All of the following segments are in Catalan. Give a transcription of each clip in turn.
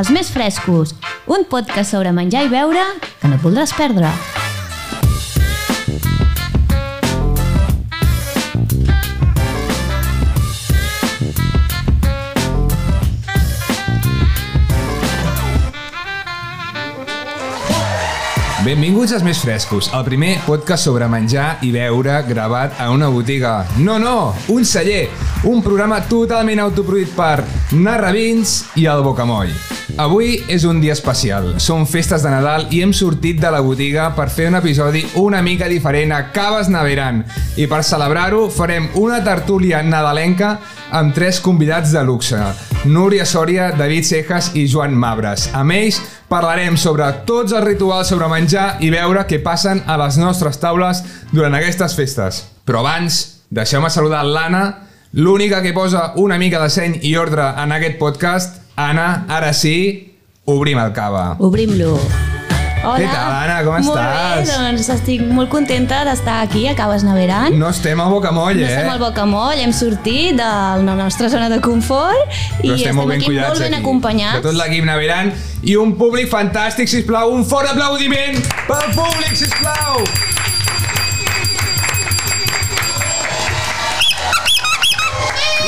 Els més frescos, un podcast sobre menjar i beure que no et voldràs perdre. Benvinguts als Més Frescos, el primer podcast sobre menjar i beure gravat a una botiga. No, no, un celler, un programa totalment autoproduït per Narravins i el Bocamoll. Avui és un dia especial, són festes de Nadal i hem sortit de la botiga per fer un episodi una mica diferent a Caves Naveran. I per celebrar-ho farem una tertúlia nadalenca amb tres convidats de luxe, Núria Sòria, David Cejas i Joan Mabres. A més, parlarem sobre tots els rituals sobre menjar i beure que passen a les nostres taules durant aquestes festes. Però abans, deixeu-me saludar l'Anna, l'única que posa una mica de seny i ordre en aquest podcast. Anna, ara sí, obrim el cava. Obrim-lo. Hola. Què tal, Anna? Com molt estàs? Molt bé, doncs estic molt contenta d'estar aquí a Caves Naveran. No estem a bocamoll, No eh? estem al bocamoll, hem sortit de la nostra zona de confort i Però estem, molt ben aquí cuidats molt ben aquí. acompanyats. De tot l'equip Naveran i un públic fantàstic, sisplau. Un fort aplaudiment pel públic, sisplau!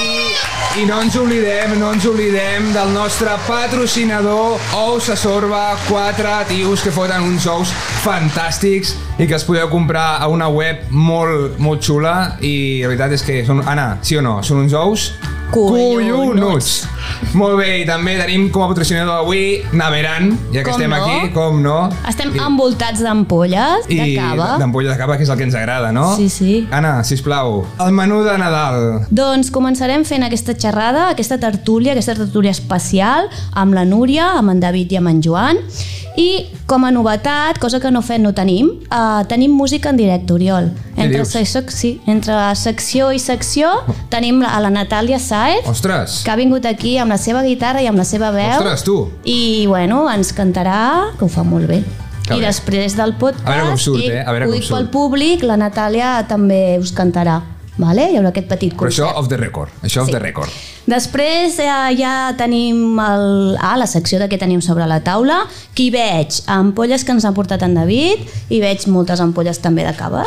I- I no ens oblidem, no ens oblidem del nostre patrocinador Ous a Sorba, quatre tios que foten uns ous fantàstics i que es podeu comprar a una web molt, molt xula i la veritat és que són, Anna, sí o no, són uns ous Collonuts. Molt bé, i també tenim com a patrocinador avui Naveran, ja que Com estem no? aquí, com no. Estem envoltats d'ampolles, de cava. d'ampolla de cava, que és el que ens agrada, no? Sí, sí. Anna, sisplau, el menú de Nadal. Doncs començarem fent aquesta xerrada, aquesta tertúlia, aquesta tertúlia especial amb la Núria, amb en David i amb en Joan. I com a novetat, cosa que no fem, no tenim, eh, tenim música en directe, Oriol. Què Entre, dius? secció, sí, entre secció i secció tenim a la Natàlia Saez, Ostres, que ha vingut aquí amb la seva guitarra i amb la seva veu. ostres, tu. I, bueno, ens cantarà, que ho fa molt bé. Que I bé. després del podcast, A veure com surt, i eh? A veure ho com dic pel surt. públic, la Natàlia també us cantarà. Vale? Hi haurà aquest petit Però concert. això off the record, això off Sí. the record. Després eh, ja tenim el, ah, la secció de què tenim sobre la taula, que hi veig ampolles que ens ha portat en David, i veig moltes ampolles també de cava,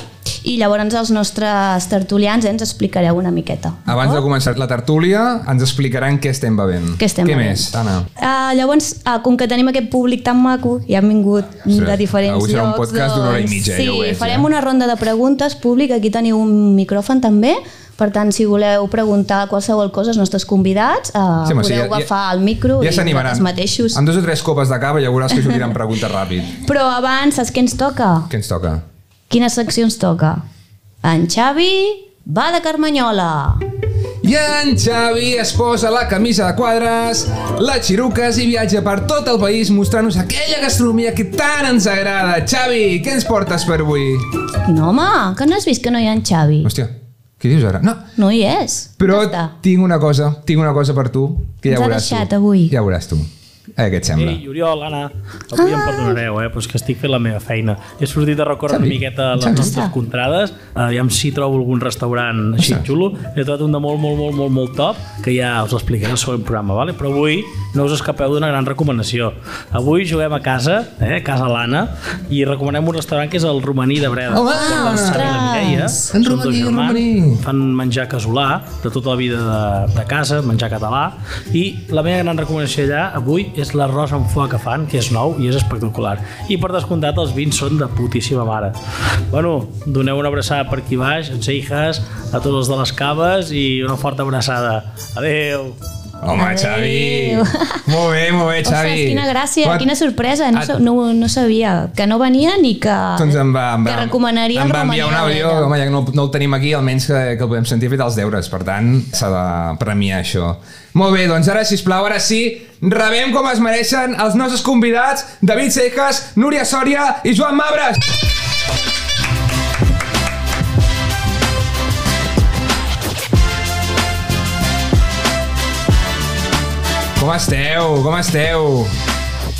i llavors els nostres tertulians eh, ens explicareu una miqueta. Abans de començar la tertúlia, ens explicaran què estem bevent. Oh. Què estem què bevent. més, Anna? Uh, llavors, uh, com que tenim aquest públic tan maco i han vingut Ostres, de diferents avui serà un llocs, podcast d'una hora i mitja, doncs, ja ho sí, veig, farem eh? una ronda de preguntes públic, aquí teniu un micròfon també, per tant, si voleu preguntar qualsevol cosa als nostres convidats, uh, home, podeu agafar el micro ja i s'animaran. vosaltres mateixos. Amb dos o tres copes de cava ja veuràs que sortiran preguntes ràpid. Però abans, saps què ens toca? Què ens toca? Quina secció ens toca? En Xavi va de Carmanyola. I en Xavi es posa la camisa de quadres, la xiruques i viatja per tot el país mostrant-nos aquella gastronomia que tant ens agrada. Xavi, què ens portes per avui? No, home, que no has vist que no hi ha en Xavi? Hòstia, què dius ara? No, No hi és. però Ja està. tinc una cosa, tinc una cosa per tu que ja Ens ha veuràs deixat tu. avui. Ja veuràs tu. Eh, què et sembla? Ei, Oriol, Anna, avui ah. em perdonareu, eh? però és que estic fent la meva feina. He sortit a recórrer Xavi, una miqueta les Xavi. nostres contrades, eh, aviam si trobo algun restaurant així xulo. He trobat un de molt, molt, molt, molt, molt top, que ja us l'explicaré al següent programa, vale? però avui no us escapeu d'una gran recomanació. Avui juguem a casa, eh? a casa l'Anna, i recomanem un restaurant que és el Romaní de Breda. Home! Ostres! La Mireia, Ostres! En són dos Romaní, en germans, Romaní. fan menjar casolà de tota la vida de, de casa, menjar català i la meva gran recomanació allà avui és l'arròs amb foie que fan, que és nou i és espectacular. I per descomptat els vins són de putíssima mare. Bueno, doneu una abraçada per aquí baix, en Seijas, a tots els de les caves i una forta abraçada. Adeu! Home, Xavi! Adéu. Molt bé, molt bé, Eh, Xavi. Ostres, quina gràcia, Quan- quina sorpresa. No, Et- sa- no, no sabia que no venia ni que, Doncs em va, em va, que recomanaria em el va enviar un Romania àudio, Breda. home, ja que no, no el tenim aquí, almenys que, que el podem sentir fet els deures, per tant, s'ha de premiar això. Molt bé, doncs ara, sisplau, ara sí, rebem com es mereixen els nostres convidats, David Cejas, Núria Sòria i Joan Mabres. Com esteu? Com esteu?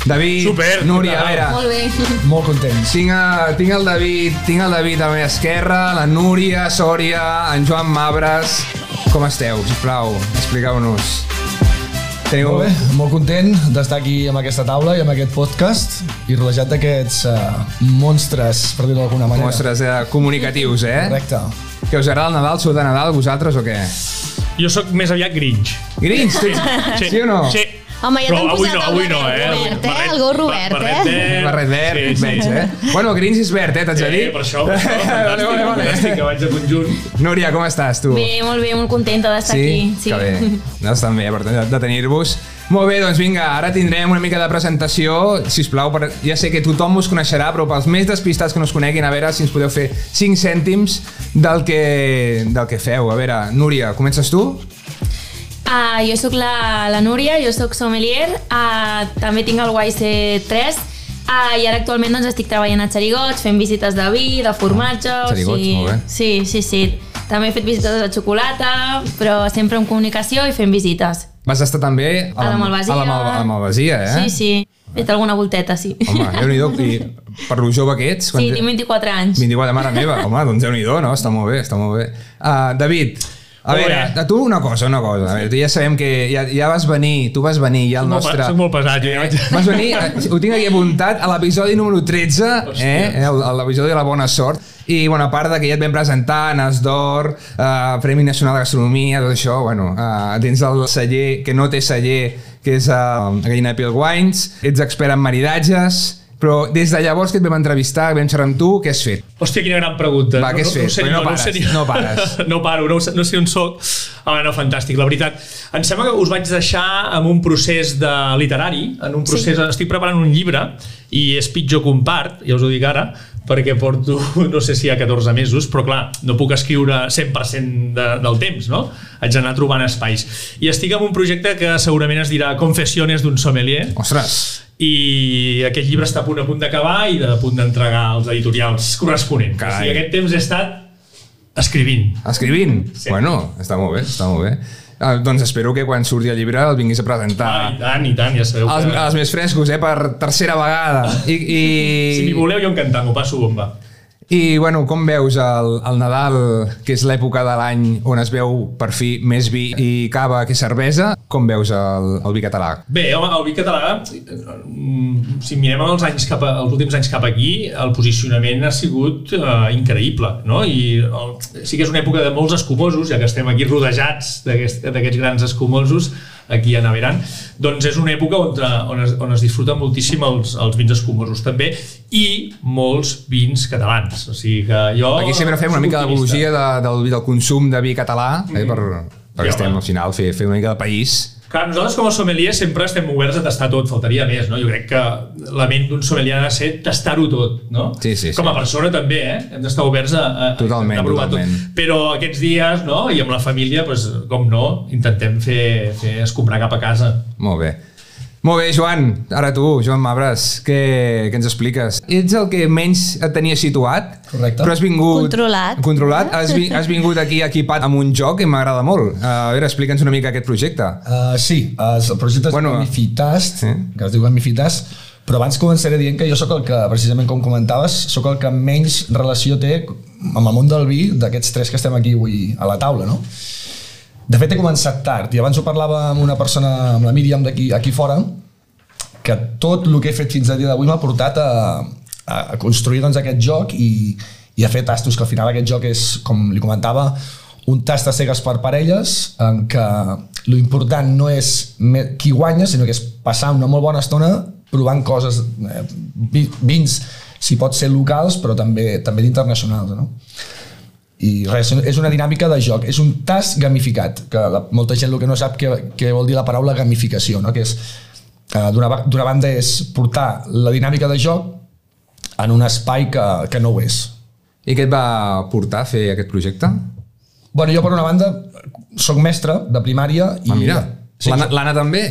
David, Super, Núria, a què veure, tal? Molt bé. Molt contents. Tinc, a, tinc el David, tinc el David a la meva esquerra, la Núria, Sòria, en Joan Mabres. Com esteu, sisplau? Expliqueu-nos. Teniu... Molt bé, molt content d'estar aquí amb aquesta taula i amb aquest podcast i rodejat d'aquests uh, monstres, per dir-ho d'alguna manera. Mostres eh, comunicatius, eh? Correcte. Que us agrada el Nadal, sou de Nadal vosaltres o què? Jo sóc més aviat Grinch. Grinch, tu ets... sí. sí o no? Sí. Home, ja Però t'han avui posat no, el avui no, barret eh? Robert, eh? El gos Robert, ba- barret eh? verd. Barret verd, sí, sí. veig, eh? Bueno, Grinch és verd, eh, t'haig de Sí, dir. per això, per això, fantàstic, vale, vale, fantàstic, que vale. vaig de conjunt. Núria, com estàs, tu? Bé, molt bé, molt contenta d'estar Sí? aquí. Sí. Que bé. Nosaltres també, per tant, de tenir-vos. Molt bé, doncs vinga, ara tindrem una mica de presentació, si us plau, per... ja sé que tothom us coneixerà, però pels més despistats que no us coneguin, a veure si ens podeu fer 5 cèntims del que, del que feu. A veure, Núria, comences tu? Ah, jo sóc la, la Núria, jo sóc sommelier, ah, també tinc el YC3 ah, i ara actualment doncs, estic treballant a Xerigots, fent visites de vi, de formatge... o Xerigots, sigui- molt bé. Sí, sí, sí. També he fet visites de xocolata, però sempre amb comunicació i fent visites. Vas estar també A la Malvasia. A la, Mal a la Malvasia, eh? Sí, sí. He fet alguna volteta, sí. Home, déu nhi I per lo jove que ets... Sí, tinc 24 anys. 24 mare meva, home, doncs déu nhi no? Està molt bé, està molt bé. Uh, David, a Molt veure, bé. a tu una cosa, una cosa. A veure, tu ja sabem que ja, ja vas venir, tu vas venir ja al Molt, nostre... pe- soc molt pesat, jo ja vaig... Vas venir, eh, ho tinc aquí apuntat, a l'episodi número 13, eh? El- a l'episodi de la bona sort. I, bueno, a part de que ja et vam presentar Nas d'Or, eh, Premi Nacional de Gastronomia, tot això, bueno, eh, dins del celler, que no té celler, que és eh, Gallina Peel Wines, ets expert en maridatges, però des de llavors que et vam entrevistar, que vam xerrar amb tu, què has fet? Hòstia, quina gran pregunta. Va, què has fet? ho sé Però ni no on, ho pares, sé ni on. no pares. no paro, no, ho sé- no sé on soc. Ah, no, fantàstic, la veritat. Em sembla que us vaig deixar amb un procés de literari, en un procés... Sí. Estic preparant un llibre i és pitjor que un part, ja us ho dic ara, perquè porto, no sé si hi ha 14 mesos, però clar, no puc escriure 100% de, del temps, no? Haig d'anar trobant espais. I estic amb un projecte que segurament es dirà Confessiones d'un sommelier, Ostres, i aquest llibre està a punt a punt d'acabar i de a punt d'entregar als editorials corresponents. Carai. O sigui, aquest temps he estat escrivint. escrivint? Sí. Bueno, està molt bé, està molt bé. Eh, doncs espero que quan surti el llibre el vinguis a presentar. Ah, I tant, i tant, ja sabeu els, que... els més frescos, eh, per tercera vegada. I, i, Si m'hi voleu, jo encantat, m'ho passo bomba. i bueno, com veus el, el Nadal, que és l'època de l'any on es veu per fi més vi i cava que cervesa, com veus el, el vi català? Bé, home, el vi català, mm, si mirem els, anys cap a, els últims anys cap aquí, el posicionament ha sigut eh, increïble, no? I el, sí que és una època de molts escumosos, ja que estem aquí rodejats d'aquest- d'aquests grans escumosos, aquí a Naveran, doncs és una època on, on, es, on es disfruten moltíssim els, els vins escumosos també i molts vins catalans. O sigui que jo... Aquí sempre fem una soc mica optimista. d'apologia de, del, del consum de vi català, eh, per, perquè Ja, estem home. al final fer, fer una mica de país. Clar, nosaltres com a sommelier sempre estem oberts a tastar tot, faltaria més, no? Jo crec que la ment d'un sommelier ha de ser tastar-ho tot, no? Sí, sí, sí. Com a persona també, eh? Hem d'estar oberts a, a, Totalment, a provar totalment. tot. Però aquests dies, no? I amb la família, doncs, com no, intentem fer, fer escombrar cap a casa. Molt bé. Molt bé, Joan, ara tu, Joan Mabres, què, què ens expliques? Ets el que menys et tenia situat, Correcte. però has vingut... Controlat. Controlat, has, vi, has vingut aquí equipat amb un joc que m'agrada molt. A veure, explica'ns una mica aquest projecte. Uh, sí, uh, el projecte Bueno, bueno, Gamifitast, sí. sí. que es diu Gamifitast, però abans començaré dient que jo sóc el que, precisament com comentaves, sóc el que menys relació té amb el món del vi d'aquests tres que estem aquí avui a la taula, no? De fet, he començat tard i abans ho parlava amb una persona, amb la Míriam d'aquí aquí fora, que tot el que he fet fins a dia d'avui m'ha portat a, a, a construir doncs, aquest joc i, i a fer tastos, que al final aquest joc és, com li comentava, un tast a cegues per parelles, en què lo important no és me- qui guanya, sinó que és passar una molt bona estona provant coses, eh, vi- vins, si pot ser locals, però també també d'internacionals, no? I res, és una dinàmica de joc, és un tast gamificat, que la, molta gent el que no sap què, què vol dir la paraula gamificació, no? que és, eh, d'una ba- d'una banda és portar la dinàmica de joc en un espai que, que no ho és. I què et va portar a fer aquest projecte? bueno, jo per una banda eh, sóc mestre de primària i... Ah, mira, Sí, l'Anna l'Anna també.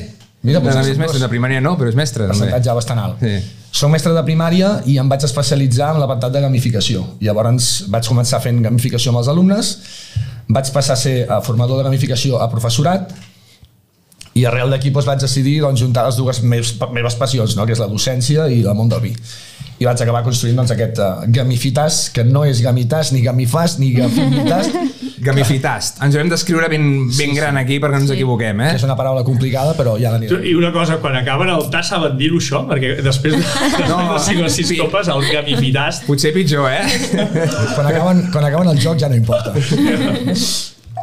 Mira, L'Anna potser és són mestra, dos. de primària no, però és mestra. També. percentatge bastant alt. Sí. Soc mestre de primària i em vaig especialitzar en l'apartat de gamificació. Llavors vaig començar fent gamificació amb els alumnes, vaig passar a ser eh, formador de gamificació a professorat i arrel d'aquí doncs, vaig decidir doncs, juntar les dues meves, meves passions, no? que és la docència i el món del vi. I vaig eh, acabar construint doncs, aquest uh, gamifitas, que no és gamitas, ni gamifas, ni gafinitas, Gamifitast. Ens haurem d'escriure ben, ben gran aquí perquè no ens equivoquem, eh? És una paraula complicada, però ja l'anirem. I una cosa, quan acaben el tas saben dir-ho això, perquè després de, no. No. de 5 o 6 Sí. copes el gamifitast Potser pitjor, eh? Quan acaben, quan acaben el joc ja no importa.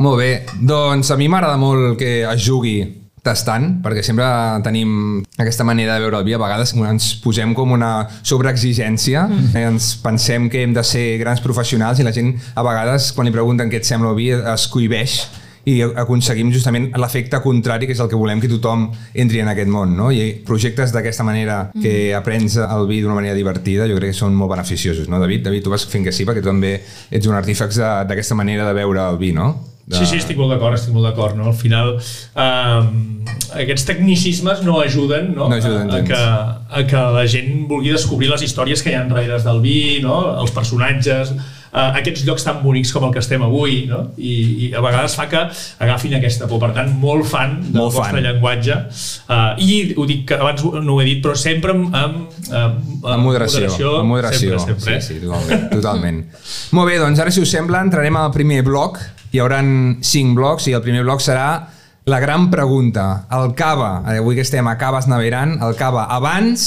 Molt bé, doncs a mi m'agrada molt que es jugui tastant, perquè sempre tenim aquesta manera de veure el vi, a vegades ens posem com una sobreexigència, mm. ens pensem que hem de ser grans professionals i la gent a vegades quan li pregunten què et sembla el vi es cohibeix i aconseguim justament l'efecte contrari que és el que volem que tothom entri en aquest món no? i projectes d'aquesta manera que aprens el vi d'una manera divertida jo crec que són molt beneficiosos, no David? David, tu vas fent que sí perquè tu també ets un artífex de- d'aquesta manera de veure el vi, no? De... Sí, sí, estic molt d'acord, estic molt d'acord. No? Al final, eh, aquests tecnicismes no ajuden, no? No ajuden a, a, gens. que, a que la gent vulgui descobrir les històries que hi ha darrere del vi, no? els personatges, eh, aquests llocs tan bonics com el que estem avui, no? I, i a vegades fa que agafin aquesta por. Per tant, molt fan del Molt vostre fan. llenguatge. Eh, I ho dic que abans no ho he dit, però sempre amb, amb, amb, amb moderació, amb moderació. Sempre, sempre, eh? sí, sí, totalment, totalment. Molt bé, doncs ara, si us sembla, entrarem al primer bloc. Hi hauran cinc blocs i el primer bloc serà la gran pregunta. El cava, eh, avui que estem a Caves Naveran, el cava abans,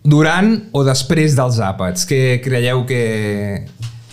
durant o després dels àpats? Què creieu que,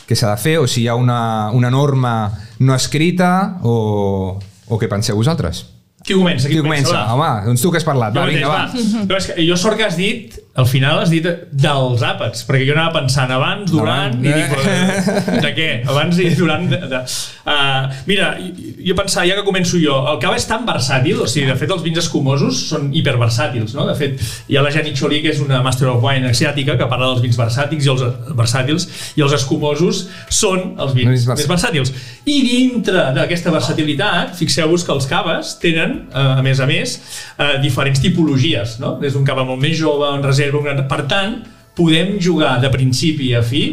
que s'ha de fer? O si hi ha una, una norma no escrita o, o què penseu vosaltres? Qui comença? Qui comença? va? Home, doncs tu que has parlat. Jo Va, vinga, va. mateix, va. No, és que jo sort que has dit, al final has dit dels àpats, perquè jo anava pensant abans, durant, Davant, i eh? dic, eh, de què? Abans i durant... De, de. Uh, mira, jo- jo pensava, ja que començo jo, el cava és tan versàtil, o sigui, de fet els vins escumosos són hiperversàtils, no? De fet, hi ha la Jenny Choli, que és una Master of Wine asiàtica, que parla dels vins versàtils i els versàtils, i els escumosos són els vins Vins més versàtils. versàtils versàtils. I dintre d'aquesta versatilitat, fixeu-vos que els caves tenen, eh, a més a més, eh, diferents tipologies. No? Des d'un cava molt més jove, un reserva, un gran... Per tant, podem jugar de principi a fi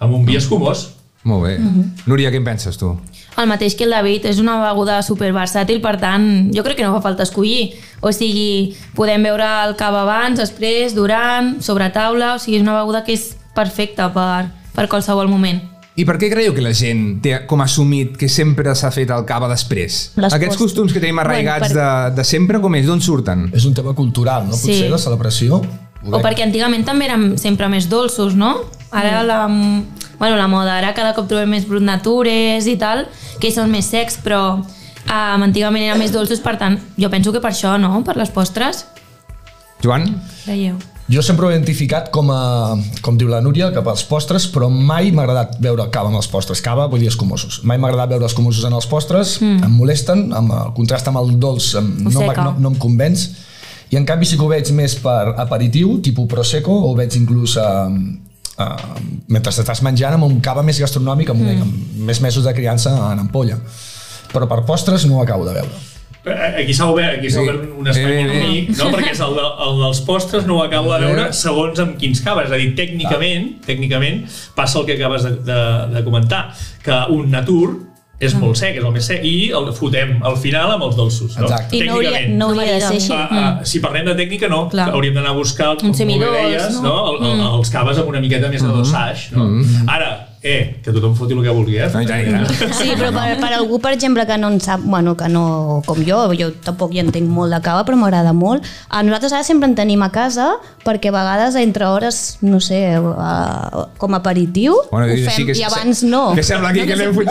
amb un vi escumós. Molt bé. Mhm. Núria, què en penses tu? El mateix que el David, és una beguda super versàtil, per tant, jo crec que no fa falta escollir. O sigui, podem veure el cava abans, després, durant, sobre taula, o sigui, és una beguda que és perfecta per, per qualsevol moment. I per què creieu que la gent té com assumit que sempre s'ha fet el cava després? Les Aquests post- costums que tenim arraigats Bueno, de, de sempre, com és? D'on surten? És un tema cultural, no? Potser Sí. la celebració. O perquè antigament també érem sempre més dolços, no? Ara la, bueno, la moda, ara cada cop trobem més brut natures i tal, que són més secs, però um, antigament eren més dolços, per tant, jo penso que per això, no? Per les postres, Joan? creieu. Jo sempre ho he identificat com a, com diu la Núria, cap als postres, però mai m'ha agradat veure cava amb els postres. Cava vull dir escumosos. Mai m'ha agradat veure escumosos en els postres, mm. em molesten, amb el contrast amb el dolç em, Ho no, em- seca. no, no em convenç. I en canvi sí que ho veig més per aperitiu, tipus prosecco, o ho veig inclús a, a, mentre t'estàs menjant amb un cava més gastronòmic, amb, mm. amb més mesos de criança en ampolla. Però per postres no ho acabo de veure. Eh, Aquí s'ha obert, aquí s'ha Sí. obert un espai Bé, eh, bé, bé. únic, no? perquè és el, de, el dels postres no ho acabo de veure segons amb quins caves. És a dir, tècnicament, tècnicament passa el que acabes de, de, de comentar, que un natur és molt sec, és el més sec, i el fotem al final amb els dolços. No? Exacte. I no hauria, Tècnicament. no hauria de ser així. Mm. Ah, ah, si parlem de tècnica, no. Clar. Hauríem d'anar a buscar, com molt bé semidós, deies, no? no? El, el, els caves amb una miqueta més de dossage. No? Ara, eh, que tothom foti el que vulgui, eh? No, i tant, i tant. Sí, però per, per algú, per exemple, que no en sap, bueno, que no, com jo, jo tampoc hi entenc molt de cava, però m'agrada molt. A nosaltres ara sempre en tenim a casa, perquè a vegades entre hores, no sé, a, com a aperitiu, ho dius fem, així i abans Oh. no. Que sembla aquí que anem, anem,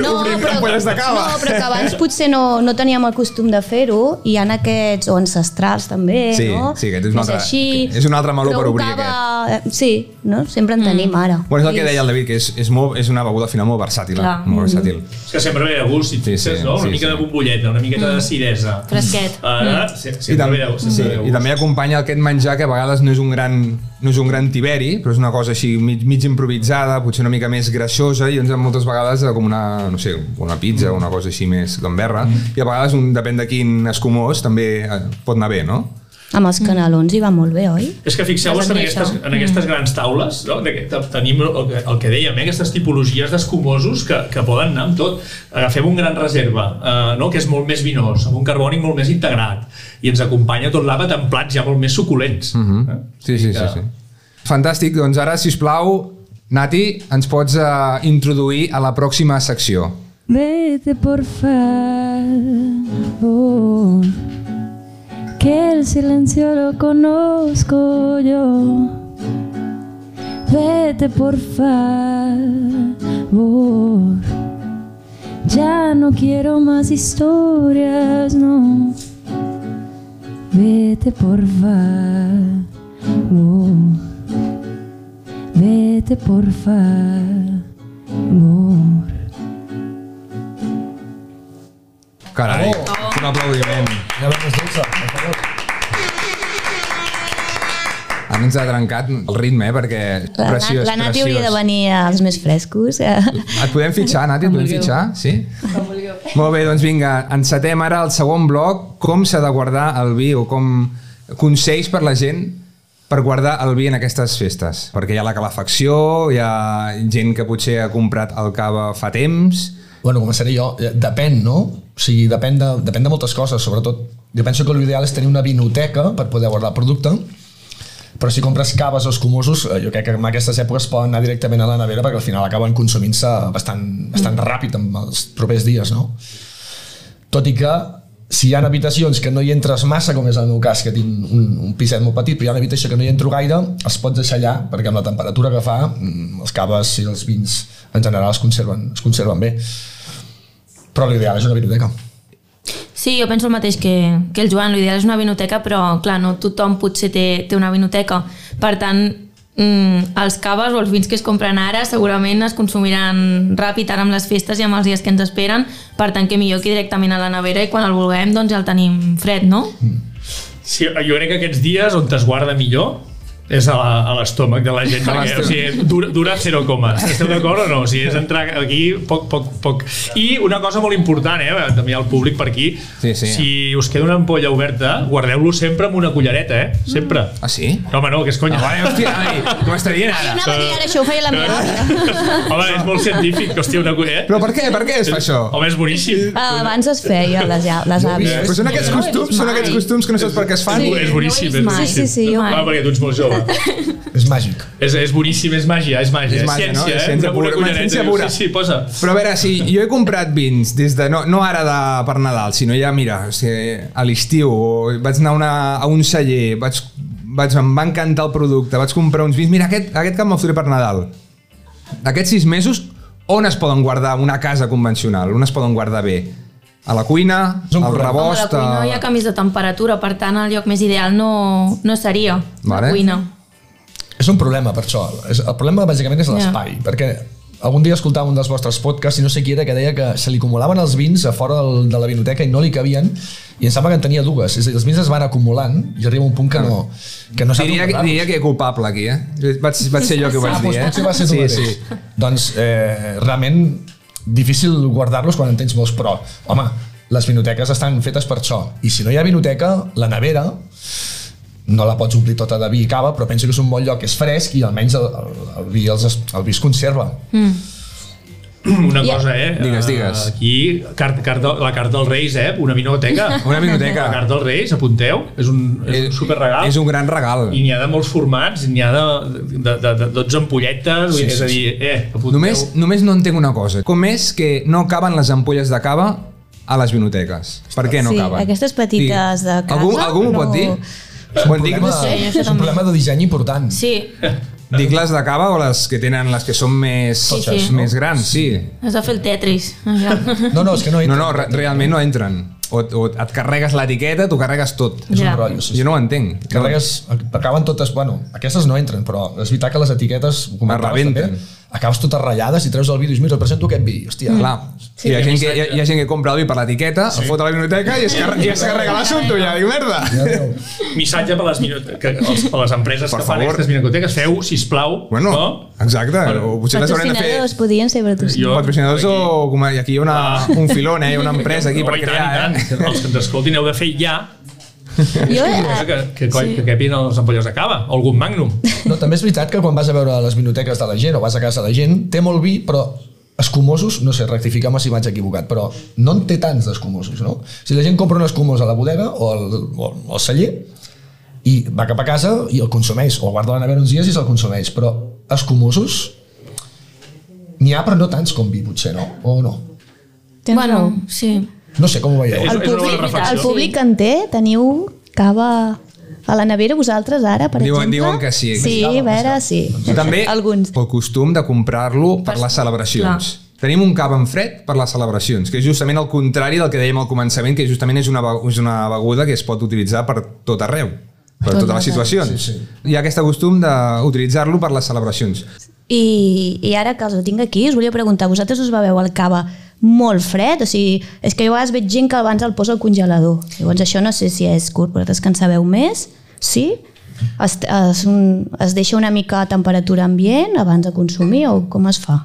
anem obrint campanyes de cava. No, però que abans potser no, no teníem el costum de fer-ho i hi ha aquests, o ancestrals també, Sí, no? sí, aquest és un Que altre- així, és un altre meló però per un obrir, Mm. cava, aquest. Sí, no? sempre en tenim ara. Bueno, és el que deia el David, que és, és, molt, és una beguda al final molt versàtil. eh? Clar. Molt versàtil. És que sempre ve de gust, si et Sí, fixes, sí, no? Una sí, mica sí. de bombolleta, una miqueta d'acidesa. Mm. Fresquet. Mm. Ara, sí, I, sempre tam ve de gust. sí, sempre ve de I gust. també acompanya aquest menjar que a vegades no és un gran, no és un gran tiberi, però és una cosa així mig, mig improvisada, potser una mica més greixosa i ens moltes vegades eh, com una, no sé, una pizza o una cosa així més gamberra. Mm. I a vegades, un, depèn de quin escumós, també eh, pot anar bé, no? Amb els canelons hi va molt bé, oi? És que fixeu-vos Has en, admirat aquestes, això? Mm. en aquestes grans taules, no? D'aquest- tenim el que, el que dèiem, eh? aquestes tipologies d'escumosos que, que poden anar amb tot. Agafem un gran reserva, eh, no? que és molt més vinós, amb un carbònic molt més integrat, i ens acompanya tot l'àpat en plats ja molt més suculents. Mm -hmm. Mhm. Sí, sí, sí, que- sí. Fantàstic, doncs ara, si us plau, Nati, ens pots eh, introduir a la pròxima secció. Vete por favor, que el silencio lo conozco yo. Vete por favor, ya no quiero más historias, no. Vete por favor, vete por favor. Carai, oh. un aplaudiment. Ja veus, Dolça, per favor. A mi ens ha trencat el ritme, eh, perquè... La, preciós, la Nati preciós. hauria de venir als més frescos. eh? Et podem fitxar, Nati, et podem fitxar? Sí? Molt bé, doncs vinga, encetem ara el segon bloc, com s'ha de guardar el vi o com consells per la gent per guardar el vi en aquestes festes, perquè hi ha la calefacció, hi ha gent que potser ha comprat el cava fa temps, Bueno, començaré jo. Eh, Depèn, no? O sigui, depèn de, depèn de moltes coses, sobretot. Jo penso que l'ideal és tenir una vinoteca per poder guardar el producte, però si compres caves o escumosos, eh, jo crec que en aquestes èpoques poden anar directament a la nevera perquè al final acaben consumint-se bastant, bastant ràpid en els propers dies, no? Tot i que si hi ha habitacions que no hi entres massa, com és el meu cas, que tinc un, un piset molt petit, però hi ha una habitació que no hi entro gaire, els pots deixar allà, perquè amb la temperatura que fa, mm, els caves i els vins en general es conserven, es conserven bé. Però l'ideal és una biblioteca. Sí, jo penso el mateix que, que el Joan. L'ideal és una vinoteca, però, clar, no tothom potser té, té una vinoteca. Per tant, mm, els caves o els vins que es compren ara segurament es consumiran ràpid ara amb les festes i amb els dies que ens esperen. Per tant, que millor que directament a la nevera i quan el vulguem, doncs ja el tenim fred, no? Sí, jo crec que aquests dies on es guarda millor és a la- a l'estómac de la gent, perquè o sigui, dura, dura 0 coma. Esteu d'acord o no? O sigui, és entrar aquí poc, poc, poc. I una cosa molt important, eh, també al públic per aquí, Sí, sí. si us queda una ampolla oberta, guardeu-lo sempre amb una cullereta, eh? Sempre. Ah, sí? Ah, No, home, no, que és conya. Eh, Vale, hòstia, ai, com està dient ara? Anava a dir ara això, ho feia la meva àvia. Home, és molt científic, que, hòstia, una culla, eh? Però per què? Per què es fa això? Home, és boníssim. Ah, abans es feia les, a- les àvies. Però són aquests costums, són aquests costums que no saps per què es fan. Sí, és boníssim, no ho he és vist mai. Sí, boníssim. sí, sí, jo Va, mai. perquè tu ets molt jove. És màgic. És, és boníssim, és màgia, és màgia. És màgia, no? ciència, És eh? ciència Una pura pura, cullereta, ciència dius, pura. Sí, sí, posa. Però a veure, si jo he comprat vins des de, no, no ara de, per Nadal, sinó ja, mira, o sigui, a l'estiu, o vaig anar a una, a un celler, vaig, vaig, em va encantar el producte, vaig comprar uns vins, mira, aquest, aquest que me'l faré per Nadal. D'aquests sis mesos, on es poden guardar en una casa convencional? On es poden guardar bé? A la cuina, És un al correu. Home, la rebost... eh, cuina hi ha canvis de temperatura, per tant, el lloc més ideal no, no seria Vale. la cuina. És un problema, per això. És, el problema, bàsicament, és Ja. l'espai. Perquè algun dia escoltava un dels vostres podcasts i no sé qui era que deia que se li acumulaven els vins a fora del, de la vinoteca i no li cabien i em sembla que en tenia dues. És a dir, els vins es van acumulant i arriba un punt que no, que no s'ha Diria, que- diria que culpable aquí, eh? Vaig, vaig ser jo que ho vaig Ah, dir, doncs eh? potser va ser tu sí, mateix. sí. Doncs eh, realment difícil guardar-los quan en tens molts, però, home, les vinoteques estan fetes per això. I si no hi ha vinoteca, la nevera no la pots omplir tota de vi i cava, però penso que és un bon lloc, és fresc i almenys el, el, el, vi, els, es- el vi es conserva. Una cosa, eh? Digues, digues. Aquí, carta, carta, la carta dels Reis, eh? Una vinoteca. Una vinoteca. Eh, La carta dels Reis, apunteu. És un, és un superregal. És un gran regal. I n'hi ha de molts formats, n'hi ha de, de, de, de 12 ampolletes, sí, és a dir, eh, apunteu. Només, només no entenc una cosa. Com és que no caben les ampolles de cava a les vinoteques? Per què no Sí, caben? aquestes petites de casa, Algú, algú m'ho no- pot dir? Ho en dic, Problema, sé, jo això és un també. problema de disseny important. Sí, dic les de cava o les que tenen les que són més, Sí, sí. més grans? Sí. has de fer el Tetris. allò. No, no, és que no, No, no, re realment no entren. O, o et carregues l'etiqueta, t'ho carregues tot. és Ja. un rotllo. sí, sí. Jo no ho entenc. Carregues, acaben totes, bueno, aquestes no entren, però és veritat que les etiquetes, ho comentaves rebenten. també, acabes totes ratllades i treus el vídeo i dius, mira, et presento aquest vídeo, hòstia, Mm. Clar. Sí, hi, ha gent que, hi, ha, hi ha gent que compra el vi per l'etiqueta, sí. el fot a la biblioteca i es, carre i es carrega l'assumpte. Ja dic, merda! Ja veu. Missatge per les, minote- que, els, per les empreses Per que fan favor. aquestes vinoteques, feu, sisplau, Bueno, no? exacte. Bueno, o potser les haurem de fer... Patrocinadors, podien ser patrocinadors. Jo- Patrocinadors Aquí. Ah. o com aquí hi ha una, un filon, eh? Hi ha una empresa aquí No, per i crear, tant, i eh? tant. Els que ens escoltin heu de fer ja Jo, cosa eh, que, que, coi, que capin els ampolles de cava, o algun magnum. No, també és veritat que quan vas a veure les vinoteques de la gent o vas a casa de la gent, té molt vi, però escumosos, no sé, rectifica'm si vaig equivocat, però no en té tants d'escumosos, no? Si la gent compra un escumós a la bodega o al, o al- al celler i va cap a casa i el consumeix, o el guarda a la nevera uns dies i se'l consumeix, però escumosos n'hi ha, però no tants com vi, potser, no? O no? Tens bueno, raó. sí. No sé Eh, com ho veieu. És- El és una bona públic, el reflexió. públic en té? Teniu cava a la nevera vosaltres ara, per Diuen- exemple? diuen que sí, que Sí, sí. a veure, sí. També Alguns. pel costum de comprar-lo per les celebracions. Tenim un cava en fred per les celebracions, que és justament el contrari del que dèiem al començament, que justament és una, be- és una beguda que es pot utilitzar per tot arreu, per Tot totes les arreu. situacions. Sí, sí. Hi ha aquest costum d'utilitzar-lo per les celebracions. I, I ara que els tinc aquí, us volia preguntar, vosaltres us beveu el cava molt fred? O sigui, és que jo a vegades veig gent que abans el posa al congelador. Llavors això no sé si és curt, vosaltres que en sabeu més, sí? Es, es, un, es deixa una mica a temperatura ambient abans de consumir o com es fa?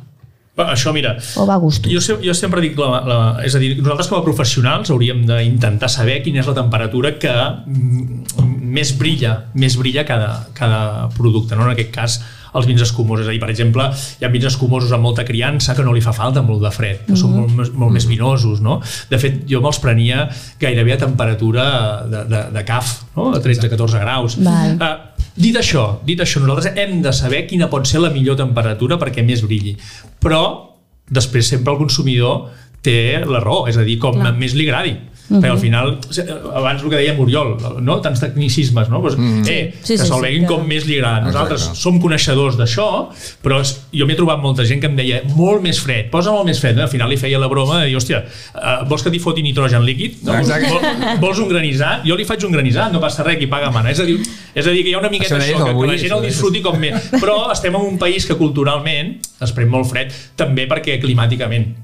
Va, Això, mira, O va a gusto? jo, se- jo sempre dic, la, la, és a dir, nosaltres com a professionals hauríem d'intentar saber quina és la temperatura que mm, més brilla, més brilla cada, cada producte, no? en aquest cas els vins escumosos, és a dir, per exemple hi ha vins escumosos amb molta criança que no li fa falta molt de fred, que són molt, més- molt més vinosos, no? De fet, jo me'ls prenia gairebé a temperatura de, de, de caf, no? A 13-14 graus. Val. Ah, dit això, dit això, nosaltres hem de saber quina pot ser la millor temperatura perquè més brilli. Però després sempre el consumidor té la raó, és a dir, com més li agradi. Uh Mhm. -huh. Perquè al final, abans el que deia Muriol, no? tants tecnicismes, no? Pues, eh, Sí, sí, que sí, se'l sí, beguin que- com més li agrada. Nosaltres Mhm. Exacte. som coneixedors d'això, però es- jo m'he trobat molta gent que em deia molt més fred, posa molt més fred. No? Al final li feia la broma de dir, hòstia, eh, vols que t'hi foti nitrogen líquid? No? Exacte. Vols, vols un granissat? Jo li faig un granissat, no passa res, qui paga mana. És a dir, és a dir que hi ha una mica miqueta Això deies això, que, avui, que la gent això el deies. disfruti com més. Però estem en un país que culturalment es pren molt fred, també perquè climàticament.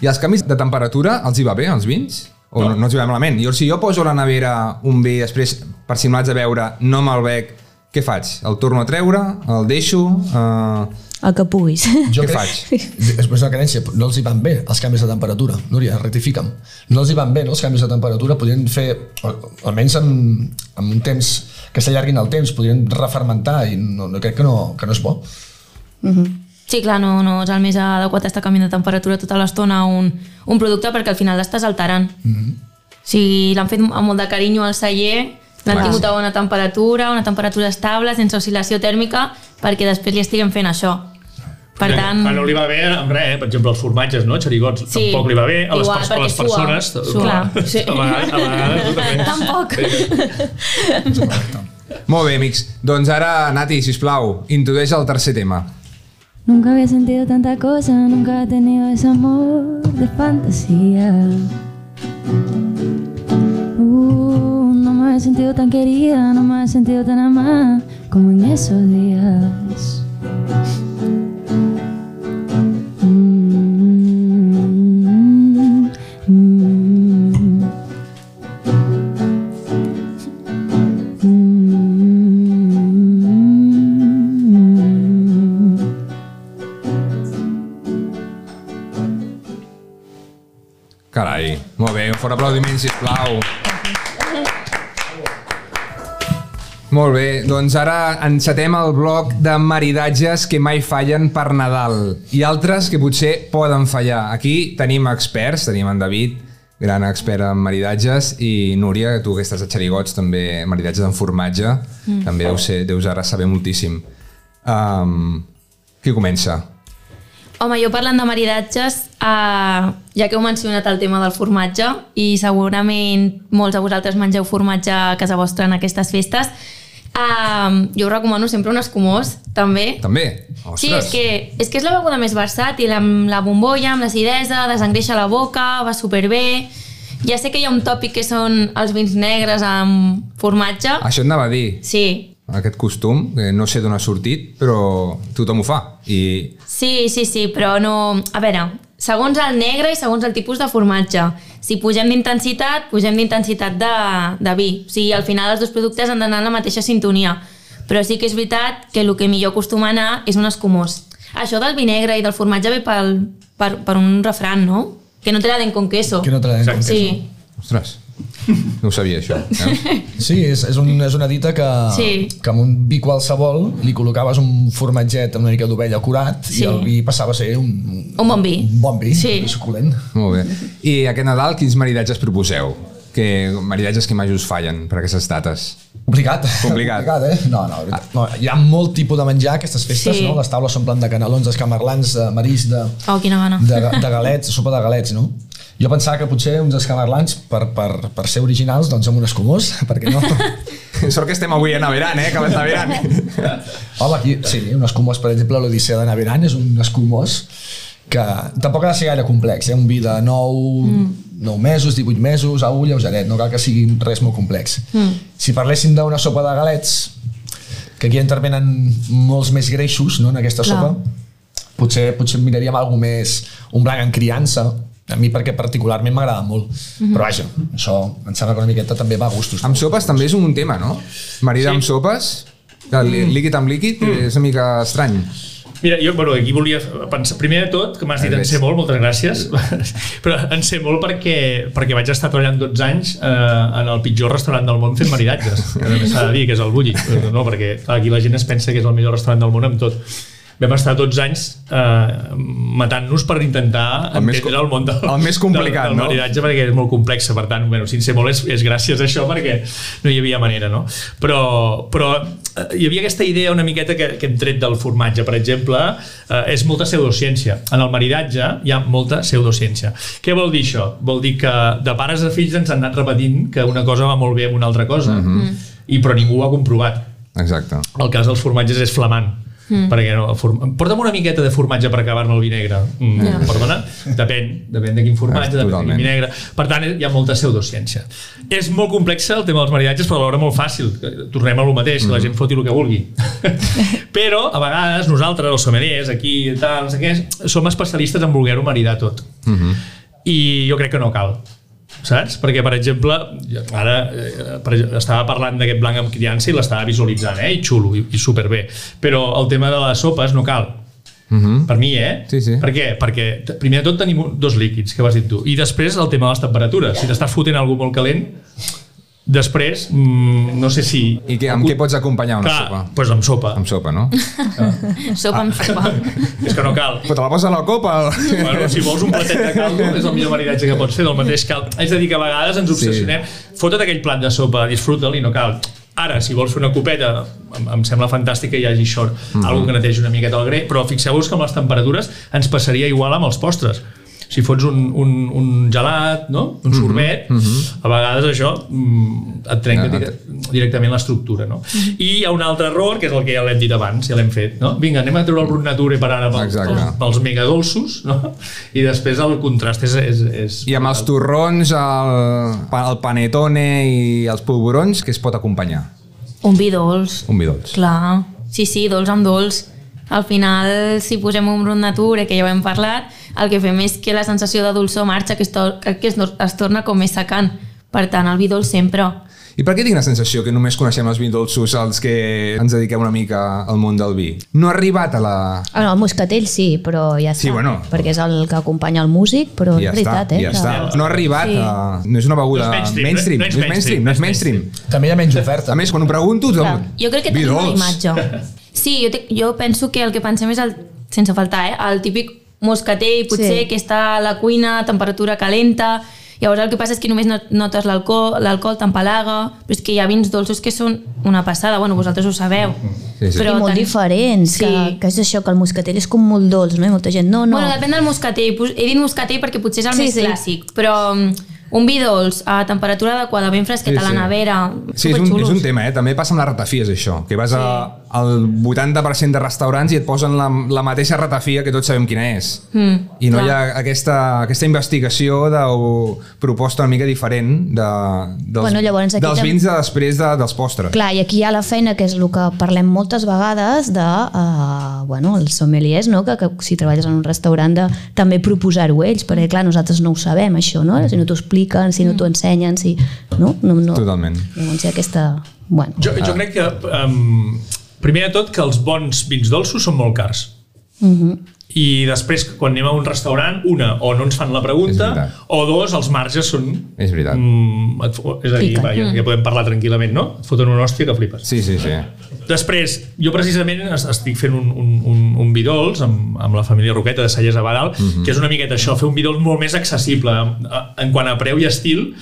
I els canvis de temperatura els hi va bé, els vins? O no, no els hi va malament? Jo, si jo poso a la nevera un vi, després, per si me'l haig de beure, no me'l bec, què faig? El torno a treure? El deixo? Eh, El que puguis. Jo Què crec- faig? Després de la cadència, no els hi van bé els canvis de temperatura. Núria, rectifica'm. No els hi van bé no, els canvis de temperatura. Podrien fer, o- almenys en, en un temps que s'allarguin el temps, podrien refermentar i no, no crec que no, que no és bo. Mhm. Sí, clar, no, no és el més adequat estar canviant de temperatura tota l'estona un, un producte perquè al final l'estàs alterant. Mm -hmm. O sigui, l'han fet amb molt de carinyo al celler, l'han Clar. tingut a bona temperatura, una temperatura estable, sense oscil·lació tèrmica, perquè després li estiguem fent això. Per tant... Quan no li va bé amb res, eh? per exemple, els formatges, no? Xerigots, Sí. tampoc li va bé. A les, Igual, pers- a perquè les sua. persones... Sua. Clar, sí. A vegades, a vegades, també. Tampoc. Molt bé, amics. Doncs ara, Nati, sisplau, introdueix el tercer tema. Nunca había sentido tanta cosa, nunca he tenido ese amor de fantasía. Uh, no me he sentido tan querida, no me he sentido tan amada como en esos días. Mm, mm, mm, mm. Carai, molt bé, un fort aplaudiment, sisplau. Molt bé, doncs ara encetem el bloc de maridatges que mai fallen per Nadal i altres que potser poden fallar. Aquí tenim experts, tenim en David, gran expert en maridatges, i Núria, tu que estàs a xerigots, també maridatges en formatge, mm. també deus, ser, deus ara saber moltíssim. Um, qui comença? Home, jo parlant de maridatges, eh, ja que heu mencionat el tema del formatge i segurament molts de vosaltres mengeu formatge a casa vostra en aquestes festes, eh, jo us recomano sempre un escumós, també. També? Sí, és que, és que és la beguda més versàtil, amb la bombolla, amb l'acidesa, desengreixa la boca, va superbé... Ja sé que hi ha un tòpic que són els vins negres amb formatge. Això et anava a dir. Sí, aquest costum, que no sé d'on ha sortit, però tothom ho fa. I Sí, sí, sí, però no... A veure, segons el negre i segons el tipus de formatge. Si pugem d'intensitat, pugem d'intensitat de, de vi. O sigui, al final els dos productes han d'anar en la mateixa sintonia. Però sí que és veritat que el que millor acostuma a anar és un escumós. Això del vi negre i del formatge ve pel, per, per un refran, no? Que no te la den con queso. Que no te la den con Sí. ostres, no ho sabia això. Eh? Sí, és, és, un, és una dita que, Sí. que amb un vi qualsevol li col·locaves un formatget amb una mica d'ovella curat Sí. i el vi passava a ser un, Un bon vi. un bon vi, Sí. suculent. Molt bé. I aquest Nadal, quins maridatges proposeu? Que maridatges que mai us fallen per aquestes dates. Complicat. Complicat. Complicat, eh? No, no, de veritat. no, hi ha molt tipus de menjar a aquestes festes, Sí. no? Les taules s'omplen de canelons, d'escamarlans, de marisc, de, Oh, quina gana. de, ga- de galets, sopa de galets, no? Jo pensava que potser uns escamarlans, per, per, per ser originals, doncs amb un escumós, perquè no... Sort que estem avui a Naveran, eh? Que abans Naveran. Home, aquí, sí, un escumós, per exemple, l'Odissea de Naveran és un escumós que tampoc ha de ser gaire complex, eh? un vi de 9, mm. 9 mesos, 18 mesos, au, lleugeret, no cal que sigui res molt complex. Mm. Si parléssim d'una sopa de galets, que aquí intervenen molts més greixos no, en aquesta Clar. sopa, potser, potser miraríem alguna més, un blanc en criança, a mi perquè particularment m'agrada molt, Mhm. però vaja, això em sembla que una miqueta també va a gustos. Amb sopes també és un tema, no? Marida sí. amb sopes, que li- Mm. líquid amb líquid, és una mica estrany. Mira, jo, bueno, aquí volia pensar, primer de tot, que m'has dit Res. en sé molt, moltes gràcies, però en sé molt perquè, perquè vaig estar treballant 12 anys eh, en el pitjor restaurant del món fent maridatges, que també s'ha de dir que és el Bulli, Però no, perquè clar, aquí la gent es pensa que és el millor restaurant del món amb tot. Vam estar 12 anys eh, matant-nos per intentar El més entendre co- el món del, el més complicat, del, del no? maridatge perquè és molt complex, per tant, bueno, sincer molt és, és gràcies a això perquè no hi havia manera, no? Però, però eh, hi havia aquesta idea una miqueta que, que hem tret del formatge, per exemple, eh, és molta pseudociència. En el maridatge hi ha molta pseudociència. Què vol dir això? Vol dir que de pares a fills ens han anat repetint que una cosa va molt bé amb una altra cosa, Mhm. Mm. i però ningú ho ha comprovat Exacte. el cas dels formatges és flamant. Mm. perquè no, el form... porta'm una miqueta de formatge per acabar-me el vi negre mm, yeah. perdona, depèn, depèn de quin formatge depèn de Totalment. quin vi negre, per tant hi ha molta pseudociència és molt complex el tema dels maridatges però alhora molt fàcil, tornem a lo mateix que la gent foti el que vulgui però a vegades nosaltres, els sommeliers aquí i tal, no sé què, som especialistes en voler-ho maridar tot Mm-hmm. i jo crec que no cal saps? Perquè, per exemple, jo ara eh, per, exemple, estava parlant d'aquest blanc amb criança i l'estava visualitzant, eh? I xulo, i, i superbé. Però el tema de les sopes no cal. Uh -huh. Per mi, eh? Sí, sí. Per què? Perquè t- primer de tot tenim un- dos líquids, que vas dir tu, i després el tema de les temperatures. Si t'estàs fotent algú molt calent, després, mm, no sé si... I què, amb què pots acompanyar una Clar, sopa? doncs amb sopa. Amb sopa, no? Ah. Sopa amb sopa. És que no cal. Però te la posa a la copa? o- Bueno, si vols un platet de caldo, és el millor maridatge que pots fer del mateix caldo. És a dir, que a vegades ens obsessionem. Sí. Fota't aquell plat de sopa, disfruta'l i no cal. Ara, si vols fer una copeta, em, em sembla fantàstic que hi hagi xor, mm -hmm. algo que netegi una miqueta el greix, però fixeu-vos que amb les temperatures ens passaria igual amb els postres. Si fots un, un, un gelat, no? Mm-hmm. un sorbet, mm -hmm. a vegades això mm, et trenca Ja, ja, directament l'estructura. No? I hi ha un altre error, que és el que ja l'hem dit abans, ja l'hem fet. No? Vinga, anem a treure el Brut Nature per ara pel, Exacte. pel, pels megadolços, no? I després el contrast és... és, és I amb els torrons, el, pa- el panetone i els polvorons, què es pot acompanyar? Un vi dolç. Un vi dolç. Clar, sí, sí, dolç amb dolç. Al final, si posem un brut nature, que ja ho hem parlat, el que fem és que la sensació de dolçor marxa, que es, to que es, es torna com més secant. Per tant, el vi dolç sempre. I per què tinc la sensació que només coneixem els vins dolços els que ens dediquem una mica al món del vi? No ha arribat a la... Ah, no, el moscatell sí, però ja Sí, està, bueno. perquè és el que acompanya el músic, però ja és veritat, està, eh? ja que- està. No ha arribat Sí. a... No és una beguda No és mainstream, mainstream. no és No és mainstream, no és mainstream. També hi ha menys oferta. A més, quan ho pregunto... Clar. Jo crec que tenim una imatge. Sí, jo, te, jo penso que el que pensem és el, sense faltar, eh? el típic moscatell, potser Sí. sí. que està a la cuina, a temperatura calenta, llavors el que passa és que només no- notes l'alcohol, l'alcohol t'empalaga, però és que hi ha vins dolços que són una passada, bueno, vosaltres ho sabeu. Sí, sí. I molt ten- diferents, Sí. que, que és això, que el moscatell és com molt dolç, no? I molta gent, no, no. Bueno, depèn del moscatell. Pos- He dit moscatell perquè potser és el Sí, sí, més sí. sí. clàssic, però mm, un vi dolç a temperatura adequada, ben fresquet Sí, a la sí. nevera, Sí, és un, és un tema, eh? també passa amb les ratafies això, que vas sí. a, al 80% de restaurants i et posen la, la mateixa ratafia que tots sabem quina és. Mm, I no clar. hi ha aquesta, aquesta investigació de, o proposta una mica diferent de, dels, Bueno, llavors aquí dels tam- vins de després de, dels postres. Clar, i aquí hi ha la feina, que és el que parlem moltes vegades, de, uh, bueno, els sommeliers, no? que, que si treballes en un restaurant, de, també proposar-ho ells, perquè clar, nosaltres no ho sabem, això, no? Si no t'ho expliquen, si no t'ho ensenyen, si... No? No, no. Totalment. Llavors hi ha aquesta... Bueno, Jo, jo crec que, um, primer de tot, que els bons vins dolços són molt cars. I després, quan anem a un restaurant, una, o no ens fan la És pregunta, veritat. o dos, els marges són... És veritat. Mm, et, fo- és a dir, Piquen. va, ja, ja podem parlar tranquil·lament, no? Et foten una hòstia que flipes. Sí, sí, sí. Després, jo precisament es- estic fent un, un, un, un bidols amb, amb la família Roqueta de Mhm. Salles a Badal, que és una miqueta això, fer un bidols molt més accessible en, en quant a preu i estil,